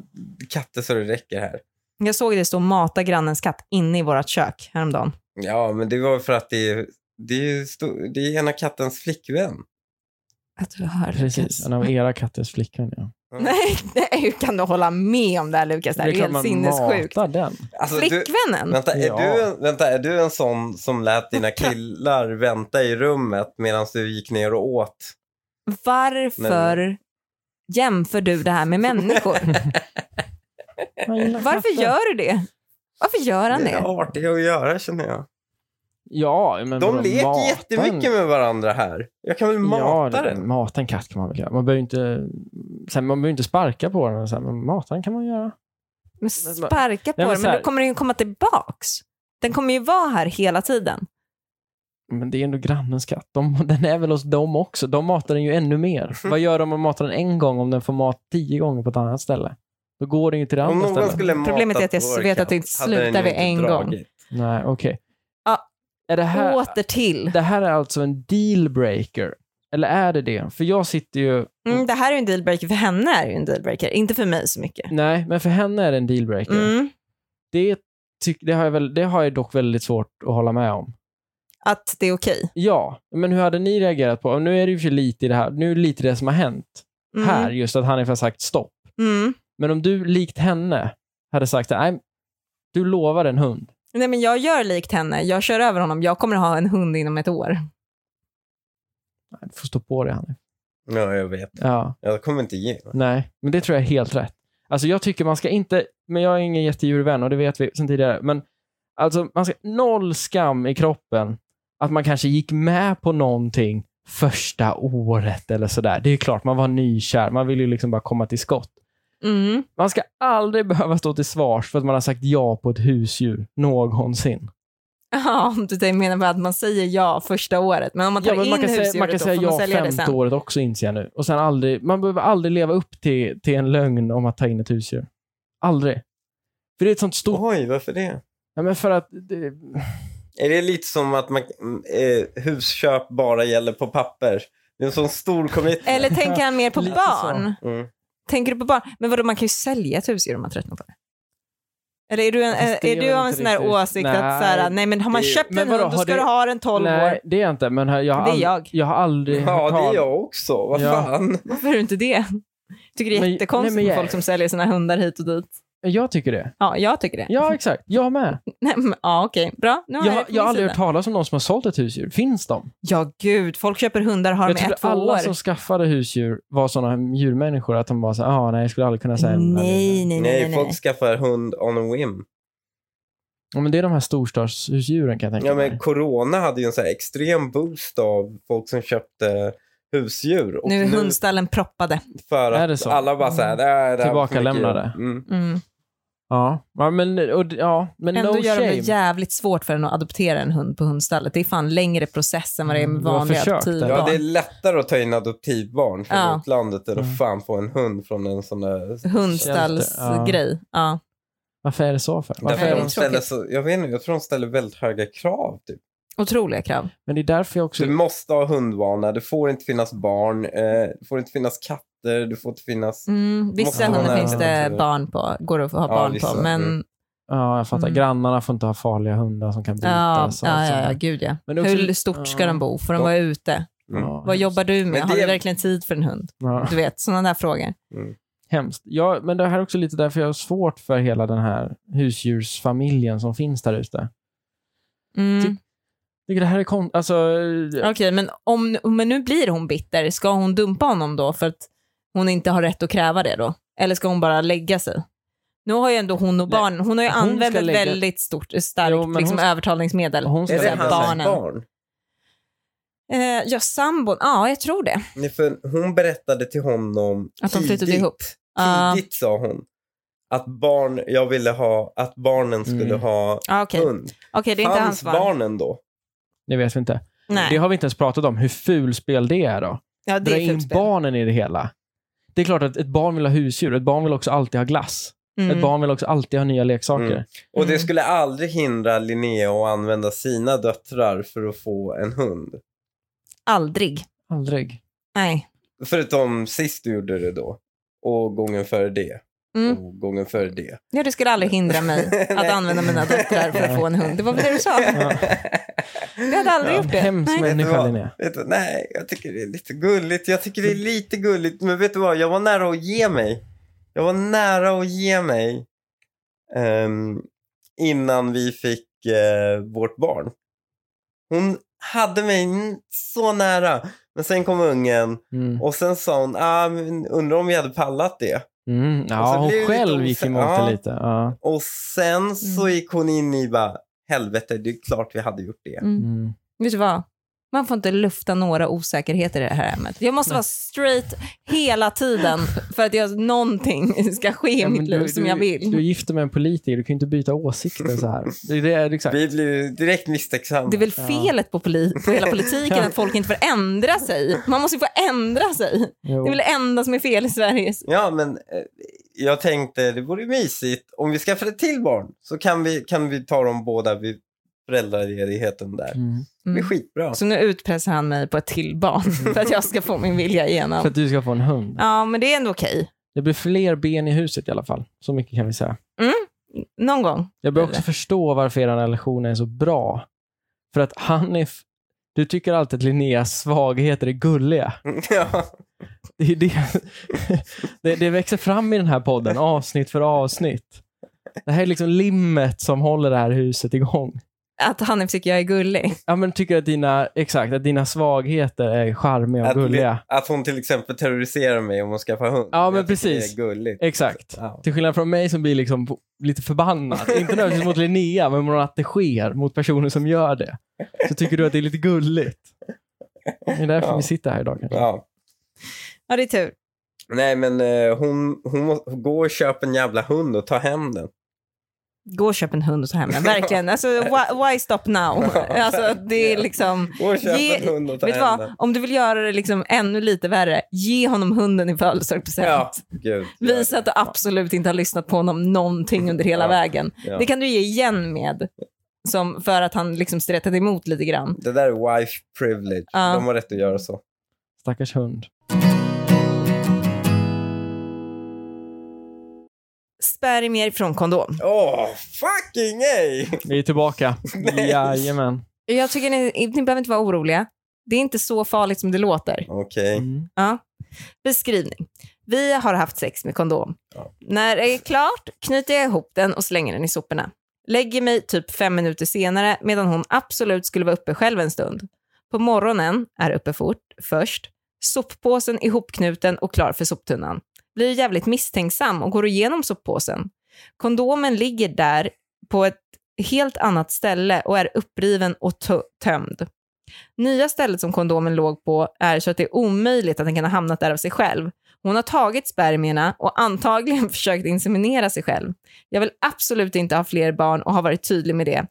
Speaker 3: katter så det räcker här.
Speaker 2: Jag såg det stå mata grannens katt inne i vårt kök häromdagen.
Speaker 3: Ja, men det var för att det är, det är, ju sto- det är ena kattens flickvän.
Speaker 2: Att du hör
Speaker 1: Precis. En
Speaker 2: Lukas.
Speaker 1: av era katters flickvän, ja.
Speaker 2: Nej, nej, hur kan du hålla med om det här Lukas? Det här är,
Speaker 1: klart
Speaker 2: helt sinnessjukt.
Speaker 1: matar den.
Speaker 3: Alltså, du,
Speaker 2: Flickvännen?
Speaker 3: vänta, är
Speaker 1: Ja.
Speaker 3: du en, vänta, är du en sån som lät dina killar vänta i rummet medan du gick ner och åt?
Speaker 2: Varför jämför du det här med människor?
Speaker 1: Man gillar
Speaker 2: Varför
Speaker 1: katter.
Speaker 2: gör du det? Varför gör han
Speaker 3: Det
Speaker 2: det?
Speaker 3: har det att göra känner jag.
Speaker 1: Ja, men
Speaker 3: De
Speaker 1: vadå,
Speaker 3: leker
Speaker 1: mata en-
Speaker 3: jättemycket med varandra här. Jag kan väl mata
Speaker 1: ja,
Speaker 3: den.
Speaker 1: Mata en katt kan man väl göra. Man behöver ju inte, sen, man behöver inte sparka på den, sen, men mata den kan man göra.
Speaker 2: Men sparka på
Speaker 1: men
Speaker 2: den,
Speaker 1: så
Speaker 2: men
Speaker 1: här-
Speaker 2: då kommer den ju komma tillbaks. Den kommer ju vara här hela tiden.
Speaker 1: men det är ändå grannens katt. De, den är väl hos dem också. De matar den ju ännu mer. Vad gör de om man matar den en gång om den får mat tio gånger på ett annat ställe? Då går den ju till det
Speaker 3: Om
Speaker 1: andra
Speaker 3: någon
Speaker 1: stället.
Speaker 3: skulle matat
Speaker 2: Problemet är att jag
Speaker 3: vår
Speaker 2: vet att det
Speaker 3: katt,
Speaker 2: inte
Speaker 3: hade den
Speaker 2: slutar
Speaker 3: ju
Speaker 2: vid
Speaker 3: inte
Speaker 2: en gång.
Speaker 3: dragit.
Speaker 1: Nej, okej. Ah,
Speaker 2: Ja.
Speaker 1: Är det här...
Speaker 2: Åter till.
Speaker 1: Det här är alltså en dealbreaker. Eller är det det? För jag sitter ju...
Speaker 2: Mm, det här är ju en dealbreaker, för henne är det ju en dealbreaker, inte för mig så mycket.
Speaker 1: Nej, men för henne är det en dealbreaker.
Speaker 2: Mm.
Speaker 1: Det, tyck, det, har jag väl, det har jag dock väldigt svårt att hålla med om.
Speaker 2: Att det är okej.
Speaker 1: Ja, men hur hade ni reagerat på... och Nu är det ju för sig lite i det här. Nu är det lite det som har hänt
Speaker 2: Mm.
Speaker 1: här. Just att han har sagt stopp.
Speaker 2: Mm. Men-
Speaker 1: Men om du likt henne hade sagt nej, du lovar en hund.
Speaker 2: Nej, men jag gör likt henne, jag kör över honom, jag kommer ha en hund inom ett år.
Speaker 1: Nej, du får stå på det Hanif.
Speaker 3: Ja, jag vet.
Speaker 1: Ja,
Speaker 3: Jag kommer inte ge mig.
Speaker 1: nej, men det tror jag är helt rätt. Alltså jag tycker man ska inte, men jag är ingen jättedjurvän och det vet vi sedan tidigare, men alltså man ska noll skam i kroppen att man kanske gick med på någonting första året eller sådär. Det är ju klart, man var nykär, man vill ju liksom bara komma till skott.
Speaker 2: Mm.
Speaker 1: Man ska aldrig behöva stå till svars för att man har sagt ja på ett husdjur någonsin.
Speaker 2: Ja, om du menar bara att man säger ja första året, men om man tar
Speaker 1: Ja, men
Speaker 2: in
Speaker 1: man kan
Speaker 2: husdjuret
Speaker 1: säga, man kan
Speaker 2: då
Speaker 1: säga
Speaker 2: får man
Speaker 1: ja
Speaker 2: sälja det
Speaker 1: femte
Speaker 2: sen.
Speaker 1: året också inser jag nu. Och sen aldrig, man behöver aldrig leva upp till, till en lögn om att ta in ett husdjur. Aldrig. För det är ett sånt stort...
Speaker 3: Oj, varför det?
Speaker 1: Ja, men för att... Det,
Speaker 3: Är det lite som att man, mm, eh, husköp bara gäller på papper? Det är en sån stor commitment.
Speaker 2: Eller tänker han mer på
Speaker 1: Lite
Speaker 2: barn?
Speaker 3: Mm.
Speaker 2: Tänker du på barn? Men vadå, man kan ju sälja ett husdjur om man tröttnar på det. Eller är du, en,
Speaker 1: Ja, fast
Speaker 2: är,
Speaker 1: det är
Speaker 2: är du
Speaker 1: väl
Speaker 2: av en
Speaker 1: inte
Speaker 2: sån här
Speaker 1: riktigt-
Speaker 2: åsikt att så här,
Speaker 1: Nej,
Speaker 2: nej men har man
Speaker 3: det är-
Speaker 2: köpt
Speaker 1: men
Speaker 2: en
Speaker 1: vadå,
Speaker 2: hund då
Speaker 1: har
Speaker 2: ska
Speaker 1: det-
Speaker 2: du ha den 12 år.
Speaker 1: nej, det är jag inte. Men jag har,
Speaker 2: Det är
Speaker 1: ald-
Speaker 2: jag.
Speaker 1: jag har aldrig
Speaker 3: Ja,
Speaker 1: hört
Speaker 3: det är
Speaker 1: tal-
Speaker 3: jag också. Vad
Speaker 1: Ja.
Speaker 3: fan?
Speaker 2: Varför är du inte det? Tycker det är
Speaker 1: Men-
Speaker 2: jättekonstigt
Speaker 1: nej, men
Speaker 2: med
Speaker 1: jag-
Speaker 2: folk som säljer sina hundar hit och dit.
Speaker 1: Jag tycker det.
Speaker 2: Ja, jag tycker det.
Speaker 1: Ja, exakt. Jag med.
Speaker 2: Nej, men, ja, okej. Bra. Nu har
Speaker 1: Jag,
Speaker 2: jag,
Speaker 1: har-
Speaker 2: det på
Speaker 1: jag har
Speaker 2: min
Speaker 1: aldrig
Speaker 2: sida.
Speaker 1: hört talas om någon som har sålt ett husdjur. Finns de?
Speaker 2: Ja, gud. Folk köper hundar har
Speaker 1: Jag
Speaker 2: med
Speaker 1: trodde
Speaker 2: ett, två
Speaker 1: alla
Speaker 2: år.
Speaker 1: som skaffade husdjur var sådana djurmänniskor att de var så här, ah, nej, jag skulle aldrig kunna säga en-
Speaker 2: Nej, nej, nej.
Speaker 3: Nej,
Speaker 2: nej,
Speaker 3: folk skaffar hund on a whim.
Speaker 1: Ja, men det är de här storstadshusdjuren kan jag tänka
Speaker 3: Ja,
Speaker 1: mig.
Speaker 3: men corona hade ju en så här extrem boost av folk som köpte husdjur. Och
Speaker 2: Nu är Mm. hundstallen proppade.
Speaker 3: för att
Speaker 1: Är det så?
Speaker 3: alla bara så här, "Äh, det här, var för
Speaker 1: Tillbakalämnade.
Speaker 3: mycket jobb." Mm.
Speaker 2: Mm.
Speaker 1: Ja, ja men, och, ja, men
Speaker 2: Ändå
Speaker 1: no
Speaker 2: gör de
Speaker 1: shame.
Speaker 2: det jävligt svårt för en att adoptera en hund på hundstallet. Det är fan längre process än vad det är med
Speaker 1: Mm, du har
Speaker 2: vanliga
Speaker 1: försökt,
Speaker 2: adoptivbarn.
Speaker 1: eller?
Speaker 3: Ja, det är lättare att ta in adoptivbarn från
Speaker 2: Ja.
Speaker 3: utlandet än att
Speaker 1: Mm.
Speaker 3: fan få en hund från en sån där...
Speaker 2: Hundstallsgrej. Ja.
Speaker 1: Varför är det så för? Varför
Speaker 3: Därför
Speaker 1: är
Speaker 2: det är
Speaker 3: de
Speaker 1: de...
Speaker 3: ställer
Speaker 2: tråkigt.
Speaker 3: så, jag vet inte, jag tror de ställer väldigt höga krav. Typ.
Speaker 2: Otroliga krav.
Speaker 1: Men det är därför jag också...
Speaker 3: Du måste ha hundvana, det får inte finnas barn, eh, det får inte finnas katter, det får inte finnas...
Speaker 2: Mm, vissa
Speaker 3: Måste
Speaker 1: vara
Speaker 2: hundar
Speaker 1: nära
Speaker 2: finns det
Speaker 3: hela tiden.
Speaker 2: barn på, går det att ha
Speaker 3: Ja,
Speaker 2: barn
Speaker 3: vissa,
Speaker 2: på, men
Speaker 3: mm.
Speaker 1: Ja, jag fattar.
Speaker 2: Mm.
Speaker 1: Grannarna får inte ha farliga hundar som kan bita.
Speaker 2: ja,
Speaker 1: så-
Speaker 2: ja,
Speaker 1: så-
Speaker 2: ja, ja, gud ja.
Speaker 1: Men också-
Speaker 2: Hur stort ska
Speaker 1: ja.
Speaker 2: de bo? Får de
Speaker 3: Ja.
Speaker 2: vara ute?
Speaker 3: Mm.
Speaker 1: Ja,
Speaker 2: Vad jobbar du med?
Speaker 3: Men
Speaker 2: Har
Speaker 3: det-
Speaker 2: du verkligen tid för en hund?
Speaker 1: Ja,
Speaker 2: Du vet, sådana där frågor.
Speaker 1: hemskt. Ja, men det här är också lite därför jag har svårt för hela den här husdjursfamiljen som finns där ute. Jag
Speaker 2: Mm.
Speaker 1: tycker det här är kon... Alltså...
Speaker 2: Okej, men om men nu blir hon bitter, ska hon dumpa honom då för att hon inte har rätt att kräva det då? Eller ska hon bara lägga sig? Nu har ju ändå hon och
Speaker 1: Nej,
Speaker 2: barn, hon har ju
Speaker 1: hon
Speaker 2: använt
Speaker 1: ska
Speaker 2: ett
Speaker 1: lägga-
Speaker 2: väldigt stort, starkt
Speaker 1: Jo, men hon
Speaker 2: liksom,
Speaker 1: ska-
Speaker 2: övertalningsmedel.
Speaker 1: Hon ska
Speaker 3: Är det
Speaker 1: säga
Speaker 3: hans
Speaker 2: barnen.
Speaker 3: barn?
Speaker 2: Eh, ja, sambon, ja jag tror det.
Speaker 3: Nej, för hon berättade till honom
Speaker 2: Att de flyttade
Speaker 3: tidigt,
Speaker 2: ihop. Ah. Ja,
Speaker 3: Tidigt sa hon. Att, barn, jag ville ha, att barnen skulle
Speaker 1: Mm.
Speaker 3: ha
Speaker 2: ah, okej.
Speaker 3: hund.
Speaker 2: Okej, det är inte hans
Speaker 3: Fanns
Speaker 2: barn.
Speaker 3: barnen då?
Speaker 1: Det vet vi inte. Det
Speaker 2: Nej,
Speaker 1: har vi inte ens pratat om, hur ful spel det är då.
Speaker 2: ja,
Speaker 1: Dra
Speaker 2: det är
Speaker 1: in
Speaker 2: fult spel.
Speaker 1: barnen i det hela. Det är klart att ett barn vill ha husdjur. Ett barn vill också alltid ha glass. Ett
Speaker 2: Mm.
Speaker 1: barn vill också alltid ha nya leksaker.
Speaker 3: Mm. Och det
Speaker 2: Mm.
Speaker 3: skulle aldrig hindra Linnea att använda sina döttrar för att få en hund.
Speaker 2: Aldrig.
Speaker 1: Aldrig.
Speaker 2: Nej.
Speaker 3: Förutom sist du gjorde det då. Och gången före det.
Speaker 2: Mm.
Speaker 3: Och gången före det.
Speaker 2: Ja, det skulle aldrig hindra mig att
Speaker 3: Nej.
Speaker 2: använda mina döttrar för att få en hund. Det var väl det du sa?
Speaker 1: Ja.
Speaker 2: Jag hade aldrig gjort det.
Speaker 1: Hemsk
Speaker 2: Nej.
Speaker 3: Vet du
Speaker 1: människa
Speaker 3: vad?
Speaker 1: Linnea.
Speaker 3: Vet du, nej, jag tycker det är lite gulligt. Jag tycker det är lite gulligt. Men vet du vad, jag var nära att ge mig. Jag var nära att ge mig. ehm, innan vi fick eh, vårt barn. Hon hade mig n- så nära. Men sen kom ungen
Speaker 1: Mm.
Speaker 3: och sen sa hon, ah, men undrar om vi hade pallat det.
Speaker 1: Mm. Ja,
Speaker 3: Och så
Speaker 1: hon
Speaker 3: blir det lite
Speaker 1: själv gick
Speaker 3: osä-
Speaker 1: emot
Speaker 3: Ja.
Speaker 1: det lite. Ja.
Speaker 3: Och sen så
Speaker 2: Mm.
Speaker 3: gick hon in i bara, helvete, det är klart vi hade gjort det.
Speaker 2: Mm.
Speaker 1: Mm.
Speaker 2: Vet du vad? Man får inte lufta några osäkerheter i det här ämnet. Jag måste vara straight hela tiden för att jag, någonting ska ske i
Speaker 1: Ja, men
Speaker 2: mitt liv
Speaker 1: du,
Speaker 2: som
Speaker 1: du,
Speaker 2: jag vill.
Speaker 1: Du gifter med en politiker, du kan ju inte byta åsikter så här. Det, det är exakt.
Speaker 3: Vi blir ju direkt misstänksamma.
Speaker 2: Det är väl felet på, poli- på hela politiken att folk inte får ändra sig. Man måste ju få ändra sig.
Speaker 1: Jo.
Speaker 2: Det är väl det enda som är fel i
Speaker 1: Mm.
Speaker 2: Sverige.
Speaker 3: Ja, men eh, jag tänkte det vore mysigt om vi skaffar ett till barn så kan vi, kan vi ta dem båda vid föräldraledigheten där.
Speaker 1: Mm.
Speaker 3: Det blir
Speaker 2: Mm.
Speaker 3: skitbra.
Speaker 2: Så nu utpressar han mig på ett till barn för att jag ska få min vilja
Speaker 1: För
Speaker 2: igenom.
Speaker 1: att du ska få en hund.
Speaker 2: Ja, men det är ändå okej.
Speaker 1: Det blir fler ben i huset i alla fall. Så mycket kan vi säga.
Speaker 2: Någon gång.
Speaker 1: Jag börjar också förstå varför er relation är så bra. För att han är... f- Du tycker alltid att Linneas svagheter är gulliga.
Speaker 3: ja.
Speaker 1: Det, är det, det, det växer fram i den här podden, avsnitt för avsnitt. Det här är liksom limmet som håller det här huset igång.
Speaker 2: Att Hanif tycker jag är gullig.
Speaker 1: Ja, men tycker att dina, exakt, att dina svagheter är charmiga och
Speaker 3: att,
Speaker 1: gulliga.
Speaker 3: att hon till exempel terroriserar mig om hon skaffar hund.
Speaker 1: Ja, men
Speaker 3: Jag tycker
Speaker 1: precis.
Speaker 3: Det är gulligt.
Speaker 1: Exakt.
Speaker 3: Ja.
Speaker 1: Till skillnad från mig som blir liksom på- lite förbannad. Inte nödvändigtvis mot Linnea, men mot att det sker, mot personer som gör det. Så tycker du att det är lite gulligt. Det är därför
Speaker 3: Ja.
Speaker 1: vi sitter här idag kanske.
Speaker 3: ja.
Speaker 2: Ja, det är tur.
Speaker 3: Nej, men eh, hon, hon må, gå och köpa en jävla hund och ta hem den.
Speaker 2: Gå och köp en hund och ta hem den. Verkligen. Alltså, why, why stop now? Alltså, det är liksom...
Speaker 3: Gå och köp
Speaker 2: Ge-
Speaker 3: en hund och ta
Speaker 2: Vet du
Speaker 3: hem
Speaker 2: vad?
Speaker 3: den.
Speaker 2: Om du vill göra det liksom ännu lite värre, ge honom hunden i födelsedagspresent.
Speaker 3: Ja, gud.
Speaker 2: Visa att du absolut inte har lyssnat på honom någonting under hela
Speaker 3: Ja.
Speaker 2: vägen.
Speaker 3: Ja.
Speaker 2: Det kan du ge igen med, som för att han liksom stretade emot lite grann.
Speaker 3: Det där är wife privilege.
Speaker 2: Ja.
Speaker 3: De har rätt att göra så.
Speaker 1: Stackars hund.
Speaker 2: Spermier från kondom.
Speaker 3: Åh, fucking ey!
Speaker 1: Vi är tillbaka.
Speaker 3: Nej.
Speaker 1: Jajamän.
Speaker 2: Jag tycker ni, ni behöver inte vara oroliga. Det är inte så farligt som det låter.
Speaker 3: Okej.
Speaker 1: Mm.
Speaker 2: Beskrivning. Vi har haft sex med kondom.
Speaker 3: Ja.
Speaker 2: När det är klart knyter jag ihop den och slänger den i soporna. Lägger mig typ fem minuter senare medan hon absolut skulle vara uppe själv en stund. På morgonen är uppe fort, först, soppåsen ihopknuten och klar för soptunnan. Blir jävligt misstänksam och går igenom soppåsen. Kondomen ligger där på ett helt annat ställe och är uppriven och tö- tömd. Nya stället som kondomen låg på är så att det är omöjligt att den kan ha hamnat där av sig själv. Hon har tagit spermierna och antagligen försökt inseminera sig själv. Jag vill absolut inte ha fler barn och har varit tydlig med det. 1.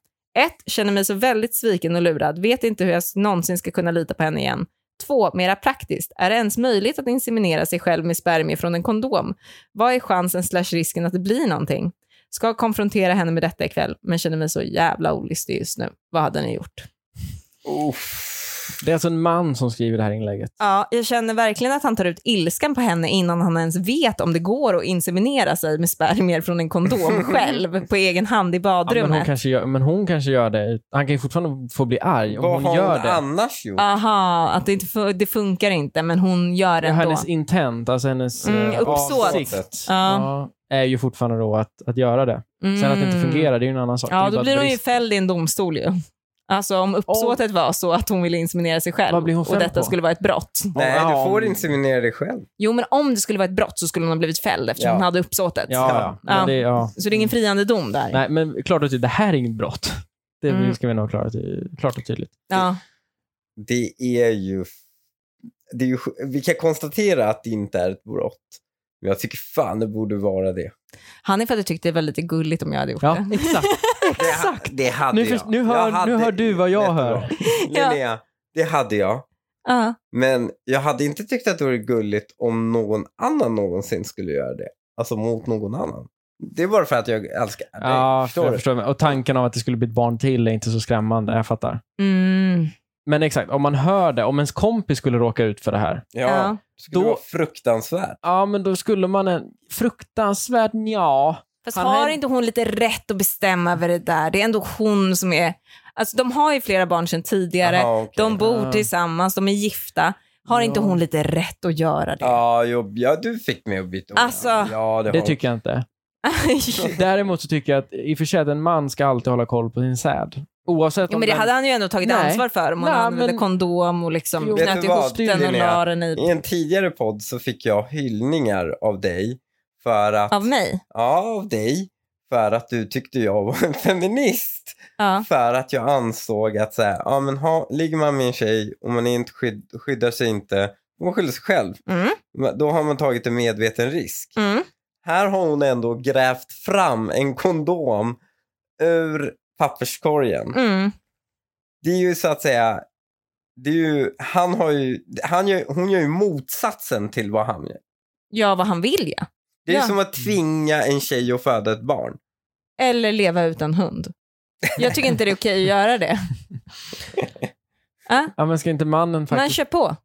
Speaker 2: Känner mig så väldigt sviken och lurad. Vet inte hur jag någonsin ska kunna lita på henne igen. 2. Mera praktiskt. Är det ens möjligt att inseminera sig själv med spermier från en kondom? Vad är chansen slash risken att det blir någonting? Ska konfrontera henne med detta ikväll, men känner mig så jävla olistig just nu. Vad hade ni gjort?
Speaker 3: Uff.
Speaker 1: Det är alltså en man som skriver det här inlägget.
Speaker 2: Ja, jag känner verkligen att han tar ut ilskan på henne innan han ens vet om det går att inseminera sig med spermier från en kondom själv på egen hand i
Speaker 1: Ja, men, hon
Speaker 2: badrummet.
Speaker 1: kanske gör, men hon kanske gör det. Han kan ju fortfarande få bli arg om
Speaker 3: Vad
Speaker 1: hon
Speaker 3: har
Speaker 1: gör
Speaker 3: hon
Speaker 1: det.
Speaker 3: annars gjort?
Speaker 2: Aha, att det, inte fu- det funkar inte, men hon gör det
Speaker 1: Ja,
Speaker 2: ändå.
Speaker 1: hennes intent, alltså hennes
Speaker 2: Mm,
Speaker 1: eh,
Speaker 2: uppsåt.
Speaker 1: avsikt,
Speaker 2: Ja.
Speaker 1: ja, är ju fortfarande då att, att göra det. Sen att det inte
Speaker 2: Mm.
Speaker 1: fungerar, det är ju en annan sak. Det är
Speaker 2: Ja,
Speaker 1: ju bara
Speaker 2: då blir hon ju
Speaker 1: brist.
Speaker 2: fälld i en domstol ju. Alltså om uppsåtet var så att hon ville inseminera sig själv
Speaker 1: Vad blir hon
Speaker 2: och
Speaker 1: fälld
Speaker 2: detta
Speaker 1: på?
Speaker 2: skulle vara ett brott.
Speaker 3: Nej,
Speaker 1: Ja,
Speaker 3: du får
Speaker 1: om-
Speaker 3: inseminera dig själv.
Speaker 2: Jo, men om det skulle vara ett brott så skulle hon ha blivit fälld eftersom
Speaker 3: Ja.
Speaker 2: hon hade uppsåtet.
Speaker 1: Ja, ja. Men
Speaker 2: Ja.
Speaker 1: Det, ja.
Speaker 2: Så det är ingen friande dom där.
Speaker 1: Nej, men klart och tydligt, det här är inget brott. Det
Speaker 2: Mm.
Speaker 1: ska vi nog ha klart, och- klart och tydligt.
Speaker 2: Ja.
Speaker 3: Det är ju... Det är ju... Vi kan konstatera att det inte är ett brott. Men jag tycker fan det borde vara det.
Speaker 2: Han är för att jag tyckte det var lite gulligt om jag hade gjort
Speaker 1: Ja,
Speaker 2: det.
Speaker 1: exakt.
Speaker 3: Det, ha- det hade
Speaker 1: Nu
Speaker 3: jag.
Speaker 1: först- nu hör-
Speaker 3: jag hade...
Speaker 1: nu hör du vad jag
Speaker 3: Jättebra.
Speaker 1: hör.
Speaker 2: Ja.
Speaker 3: Linnea, det hade jag.
Speaker 2: Ja.
Speaker 3: Men jag hade inte tyckt att det vore gulligt om någon annan någonsin skulle göra det. Alltså mot någon annan. Det är bara för att jag älskar dig.
Speaker 1: Ja,
Speaker 3: förstår
Speaker 1: jag
Speaker 3: du?
Speaker 1: förstår. Och tanken av att det skulle bli ett barn till är inte så skrämmande, jag fattar.
Speaker 2: Mm.
Speaker 1: Men exakt, om man hör det, om ens kompis skulle råka ut för det här,
Speaker 3: Ja,
Speaker 2: Ja.
Speaker 3: Det skulle
Speaker 1: Då-
Speaker 3: vara fruktansvärt.
Speaker 1: ja men då skulle man en fruktansvärt ja.
Speaker 2: Fast
Speaker 1: Han
Speaker 2: har
Speaker 1: är-
Speaker 2: inte hon lite rätt att bestämma över det där? Det är ändå hon som är... Alltså de har ju flera barn sedan tidigare.
Speaker 3: Aha, okej.
Speaker 2: De bor
Speaker 1: Ah.
Speaker 2: tillsammans, de är gifta. Har
Speaker 1: Ja.
Speaker 2: inte hon lite rätt att göra det?
Speaker 3: Ja, jo, ja, du fick mig att byta ord.
Speaker 2: Alltså-
Speaker 3: ja, det,
Speaker 1: Det
Speaker 3: har-
Speaker 1: tycker jag inte. Däremot så tycker jag att i och för sig att en man ska alltid hålla koll på sin säd. Oavsett
Speaker 2: jo,
Speaker 1: om
Speaker 2: men det
Speaker 1: den-
Speaker 2: hade han ju ändå tagit
Speaker 1: Nej.
Speaker 2: ansvar för om hon
Speaker 1: Nej,
Speaker 2: använde
Speaker 1: men-
Speaker 2: kondom och liksom
Speaker 1: Jo.
Speaker 3: Vet
Speaker 2: knöt
Speaker 3: du
Speaker 2: ihop
Speaker 3: vad,
Speaker 2: den och
Speaker 3: Linnea?
Speaker 2: la den i...
Speaker 3: I en tidigare podd så fick jag hyllningar av dig för att...
Speaker 2: Av mig?
Speaker 3: Ja, av dig. För att du tyckte jag var en feminist.
Speaker 2: Ja.
Speaker 3: För att jag ansåg att så här, ja, men ha, ligger man med en tjej och man inte skydd, skyddar sig inte, man skyller sig själv.
Speaker 2: Mm,
Speaker 3: Men Då har man tagit en medveten risk.
Speaker 2: mm.
Speaker 3: Här har hon ändå grävt fram en kondom ur papperskorgen.
Speaker 2: Mm.
Speaker 3: Det är ju så att säga, det är ju, han har ju, han gör, hon gör ju motsatsen till vad han gör.
Speaker 2: Ja, vad han vill ja.
Speaker 3: Det är ju
Speaker 2: Ja.
Speaker 3: som att tvinga en tjej att föda ett barn.
Speaker 2: Eller leva utan hund. Jag tycker inte det är okej att göra det.
Speaker 1: Ja, men ska inte mannen
Speaker 2: Men
Speaker 1: faktiskt...
Speaker 2: kör på.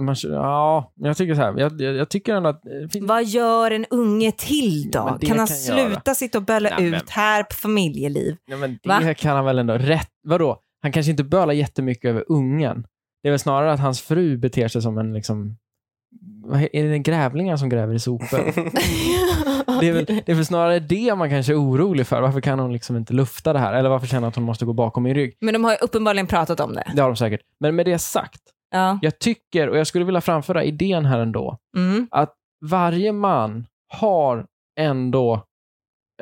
Speaker 1: Man, kö- ja, men jag tycker så här. Jag, jag, jag tycker ändå att... eh, Fin,
Speaker 2: Vad gör en unge till
Speaker 1: Ja, men
Speaker 2: då?
Speaker 1: det
Speaker 2: kan han
Speaker 1: kan jag
Speaker 2: sluta sitta och böla
Speaker 1: Nej, men-
Speaker 2: ut här på familjeliv?
Speaker 1: nej, men det
Speaker 2: va?
Speaker 1: kan han väl ändå rätt... Vadå? Han kanske inte bölar jättemycket över ungen. Det är väl snarare att hans fru beter sig som en liksom... Vad he- Är det grävlingar som gräver i sopor? Det är, väl, det är väl snarare det man kanske är orolig för. Varför kan hon liksom inte lufta det här? Eller varför känner hon att hon måste gå bakom min rygg?
Speaker 2: Men de har ju uppenbarligen pratat om det.
Speaker 1: Det har de säkert. Men med det sagt,
Speaker 2: Ja.
Speaker 1: jag tycker, och jag skulle vilja framföra idén här ändå,
Speaker 2: Mm.
Speaker 1: varje man har ändå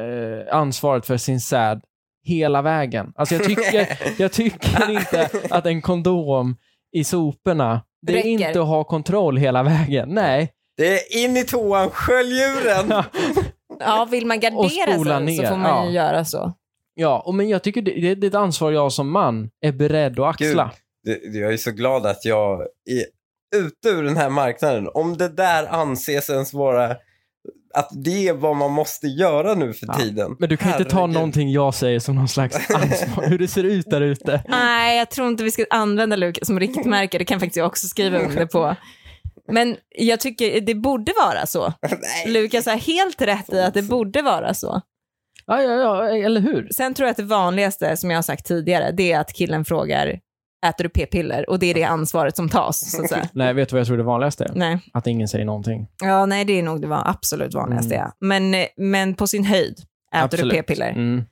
Speaker 1: eh, ansvaret för sin säd hela vägen. Alltså jag tycker, jag tycker inte att en kondom i soporna, det är
Speaker 2: Räcker.
Speaker 1: inte att ha kontroll hela vägen. Nej.
Speaker 3: Det är in i toan, skölj djuren!
Speaker 2: ja, vill man gardera
Speaker 1: spola
Speaker 2: sig
Speaker 1: ner,
Speaker 2: så får man ju
Speaker 1: ja.
Speaker 2: göra så.
Speaker 1: Ja, och men jag tycker det, det, det är ett ansvar jag som man är beredd att axla.
Speaker 3: Det- Jag är så glad att jag är ute ur den här marknaden. Om det där anses ens vara att det är vad man måste göra nu för
Speaker 1: Ja.
Speaker 3: tiden.
Speaker 1: Men du kan inte ta
Speaker 3: Herregud.
Speaker 1: någonting jag säger som någon slags ansvar, hur det ser ut där ute.
Speaker 2: Nej, jag tror inte vi ska använda Lukas som riktmärke. Det kan faktiskt jag också skriva under på. Men jag tycker det borde vara så.
Speaker 3: Nej.
Speaker 2: Lukas har helt rätt i att det borde vara så.
Speaker 1: Ja, ja, ja, eller hur?
Speaker 2: Sen tror jag att det vanligaste, som jag har sagt tidigare, det är att killen frågar äter du p-piller? Och det är det ansvaret som tas. Så att säga.
Speaker 1: Nej, vet du vad jag tror det vanligaste är?
Speaker 2: Nej.
Speaker 1: Att ingen säger någonting.
Speaker 2: Ja, nej, det är nog det var absolut vanligaste.
Speaker 1: Mm.
Speaker 2: ja. Men, men på sin höjd äter
Speaker 1: Absolut.
Speaker 2: du p-piller.
Speaker 1: Mm.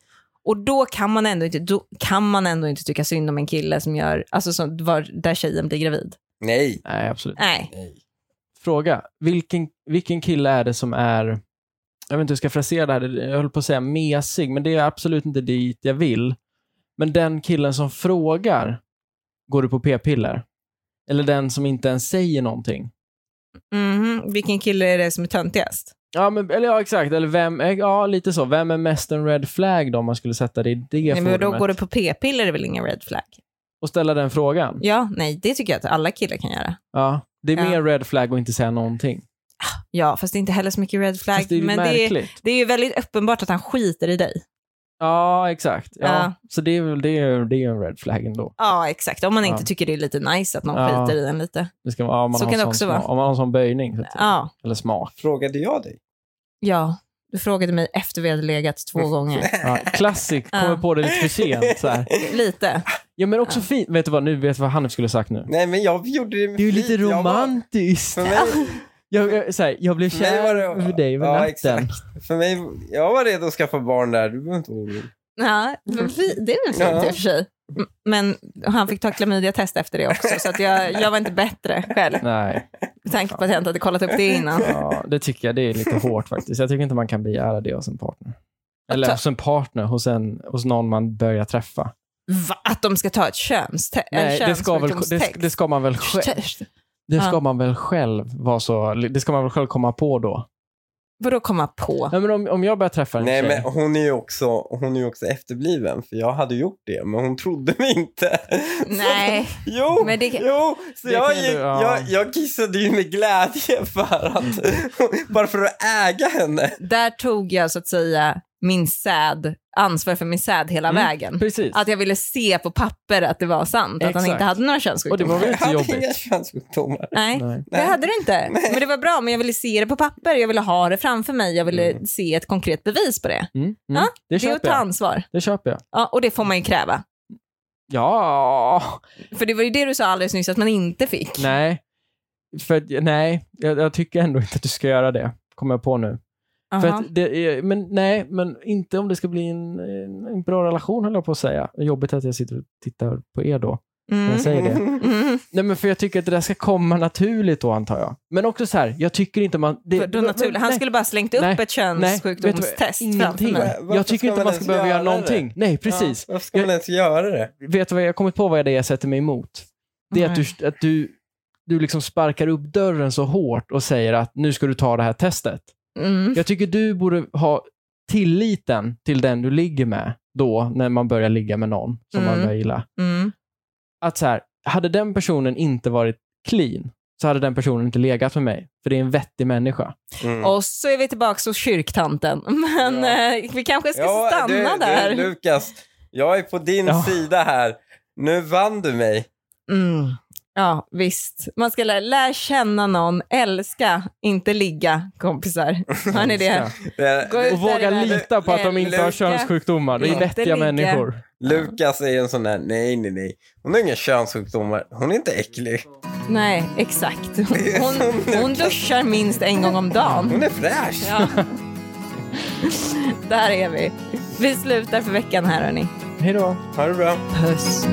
Speaker 2: Och då kan, man ändå inte, då kan man ändå inte tycka synd om en kille som gör, alltså som, var, där tjejen blir gravid.
Speaker 3: Nej.
Speaker 1: Nej, absolut.
Speaker 2: Nej.
Speaker 1: Fråga, vilken, vilken kille är det som är, jag vet inte hur jag ska frasera det här, jag höll på att säga mesig, men det är absolut inte dit jag vill. Men den killen som frågar, går du på p-piller? Eller den som inte ens säger någonting.
Speaker 2: Mhm. Vilken kille är det som är töntigast?
Speaker 1: Ja, men, eller ja, exakt. Eller vem, eh, ja, lite så. Vem är mest en red flag då, om man skulle sätta det i det
Speaker 2: Nej, men då
Speaker 1: forumet?
Speaker 2: går du på p-piller är väl ingen red flag?
Speaker 1: Och ställa den frågan.
Speaker 2: Ja, nej, det tycker jag att alla killar kan göra.
Speaker 1: Ja. Det är
Speaker 2: Ja.
Speaker 1: mer red flag att inte säga någonting.
Speaker 2: Ja, fast det är inte heller så mycket red flag.
Speaker 1: Fast det är ju
Speaker 2: men det är,
Speaker 1: märkligt.
Speaker 2: det är ju väldigt uppenbart att han skiter i dig.
Speaker 1: Ja, exakt. Ja.
Speaker 2: Ja.
Speaker 1: Så det är väl det är, det är en red flag ändå.
Speaker 2: Ja, exakt. Om man inte
Speaker 1: Ja.
Speaker 2: tycker det är lite nice att någon
Speaker 1: Ja.
Speaker 2: skiter i en lite.
Speaker 1: Det ska, ja, om man
Speaker 2: Så
Speaker 1: har
Speaker 2: kan det
Speaker 1: sån
Speaker 2: också
Speaker 1: smak-
Speaker 2: vara.
Speaker 1: Om man har en sån böjning. Så att,
Speaker 2: Ja.
Speaker 1: Eller smak.
Speaker 3: Frågade jag dig?
Speaker 2: ja, du frågade mig efter vi hade legat två
Speaker 1: Mm.
Speaker 2: gånger.
Speaker 1: Ja. Classic,
Speaker 2: Ja.
Speaker 1: kommer på det lite för sent. Så här.
Speaker 2: Lite.
Speaker 1: Ja, men också fint. Vet du vad, nu vet jag vad Hanif skulle ha sagt nu.
Speaker 3: Nej, men jag gjorde det med
Speaker 1: Det är ju
Speaker 3: flit.
Speaker 1: lite
Speaker 3: Jag var-
Speaker 1: romantiskt.
Speaker 3: För mig,
Speaker 1: Jag, jag, så här, jag blev
Speaker 3: för mig
Speaker 1: kär
Speaker 3: var det...
Speaker 1: över dig över
Speaker 3: ja,
Speaker 1: natten.
Speaker 3: exakt. För mig, jag var redo att skaffa barn där. Du behöver inte vara orolig.
Speaker 2: Ja, men fi- det är väl fint
Speaker 3: Ja.
Speaker 2: i och för sig. M- Men han fick ta klamydiatest efter det också, så att jag, jag var inte bättre själv.
Speaker 1: Nej.
Speaker 2: Med tanke på att jag inte hade kollat upp det innan.
Speaker 1: Ja, det tycker jag. Det är lite hårt faktiskt. Jag tycker inte man kan begära det hos en partner. Eller
Speaker 2: ta-
Speaker 1: hos en partner, hos, en, hos någon man börjar träffa.
Speaker 2: Va? Att de ska ta ett könste-
Speaker 1: Nej,
Speaker 2: en
Speaker 1: det ska, väl, det, det ska man väl själv,
Speaker 2: könssjukdomstext?
Speaker 1: det
Speaker 2: Ja.
Speaker 1: ska man väl själv vara så, det ska man väl själv komma på då.
Speaker 2: Vadå komma på?
Speaker 1: Nej, men om, om jag börjar träffa en
Speaker 3: Nej,
Speaker 1: tjej.
Speaker 3: men hon är ju också, hon är ju också efterbliven. För jag hade gjort det, men hon trodde mig inte.
Speaker 2: Nej,
Speaker 3: Jo,
Speaker 2: Men det-
Speaker 3: jo, så
Speaker 1: Det
Speaker 3: jag,
Speaker 1: kan
Speaker 3: gick,
Speaker 1: du- ja.
Speaker 3: jag, jag kissade ju med glädje för att, bara för att äga henne.
Speaker 2: där tog jag så att säga min säd, ansvar för min säd hela
Speaker 1: Mm,
Speaker 2: vägen.
Speaker 1: Precis.
Speaker 2: Att jag ville se på papper att det var sant, att han
Speaker 1: Exakt.
Speaker 2: inte hade några
Speaker 1: Och det
Speaker 2: könssjukdomar.
Speaker 1: var väl
Speaker 3: Jag
Speaker 1: inte
Speaker 3: hade inga
Speaker 1: jobbigt?
Speaker 3: könssjukdomar.
Speaker 2: Nej.
Speaker 1: Nej.
Speaker 2: Det hade du inte. Men det var bra, men jag ville se det på papper. Jag ville ha det framför mig. Jag ville se ett konkret bevis på det.
Speaker 1: Mm, mm.
Speaker 2: Ja,
Speaker 1: det,
Speaker 2: Det är att
Speaker 1: köper
Speaker 2: ta
Speaker 1: jag.
Speaker 2: ansvar.
Speaker 1: det köper jag.
Speaker 2: Ja, och det får man ju kräva.
Speaker 1: Ja,
Speaker 2: För det var ju det du sa alldeles nyss att man inte fick.
Speaker 1: nej. För, att- nej, jag, jag tycker ändå inte att du ska göra det. Kommer jag på nu. För
Speaker 2: Aha.
Speaker 1: att det är, men nej, men inte om det ska bli en, en, en bra relation höll jag på att säga. Jobbigt att jag sitter och tittar på er då. när
Speaker 2: Mm.
Speaker 1: Jag säger det.
Speaker 2: Mm.
Speaker 1: Nej, men för jag tycker att det där ska komma naturligt då, antar jag. Men också så här, jag tycker inte man... Det,
Speaker 2: För då naturligt, han
Speaker 1: nej,
Speaker 2: skulle bara slängt upp
Speaker 1: Nej.
Speaker 2: ett
Speaker 1: nej,
Speaker 2: könssjukdomstest
Speaker 1: vet du vad?
Speaker 2: framför
Speaker 1: Ingenting.
Speaker 2: mig.
Speaker 3: Varför
Speaker 1: Jag
Speaker 3: ska
Speaker 1: tycker inte
Speaker 3: man
Speaker 1: man ska
Speaker 3: ens
Speaker 1: behöva
Speaker 3: göra
Speaker 1: göra
Speaker 3: det?
Speaker 1: någonting. Nej, precis.
Speaker 3: Ja, varför ska man ens göra det?
Speaker 1: Vet du vad jag har kommit på vad det är jag sätter mig emot? Det är att du, att du, du liksom sparkar upp dörren så hårt och säger att nu ska du ta det här testet.
Speaker 2: Mm.
Speaker 1: Jag tycker du borde ha tilliten till den du ligger med då när man börjar ligga med någon som
Speaker 2: Mm.
Speaker 1: man börjar gilla.
Speaker 2: Mm.
Speaker 1: Att så här, hade den personen inte varit clean så hade den personen inte legat med mig. För det är en vettig människa.
Speaker 3: Mm.
Speaker 2: Och så är vi tillbaka hos kyrktanten. Men
Speaker 3: Ja.
Speaker 2: eh, vi kanske ska
Speaker 3: Ja,
Speaker 2: stanna
Speaker 3: du,
Speaker 2: där.
Speaker 3: Du, Lukas, jag är på din
Speaker 1: Ja.
Speaker 3: sida här. Nu vann du mig.
Speaker 2: Mm. Ja, visst. Man ska lära, lär känna någon, älska, inte ligga, kompisar. Hör ni det?
Speaker 3: Eh,
Speaker 2: Gå
Speaker 1: Och
Speaker 2: ut där i
Speaker 1: våga
Speaker 2: världen.
Speaker 1: lita på att de inte har
Speaker 2: Älska.
Speaker 1: könssjukdomar. Det är
Speaker 2: Inte
Speaker 1: vettiga
Speaker 2: ligga.
Speaker 1: människor.
Speaker 3: Lukas är ju en sån där, nej, nej, nej. Hon har inga könssjukdomar. Hon är inte äcklig.
Speaker 2: Nej, exakt.
Speaker 3: är
Speaker 2: Hon,
Speaker 3: som Lukas.
Speaker 2: hon duschar minst en gång om dagen.
Speaker 3: Hon är fräsch.
Speaker 2: Ja. Där är vi. Vi slutar för veckan här, hörni.
Speaker 1: Hej då.
Speaker 3: Ha det bra.
Speaker 2: Puss.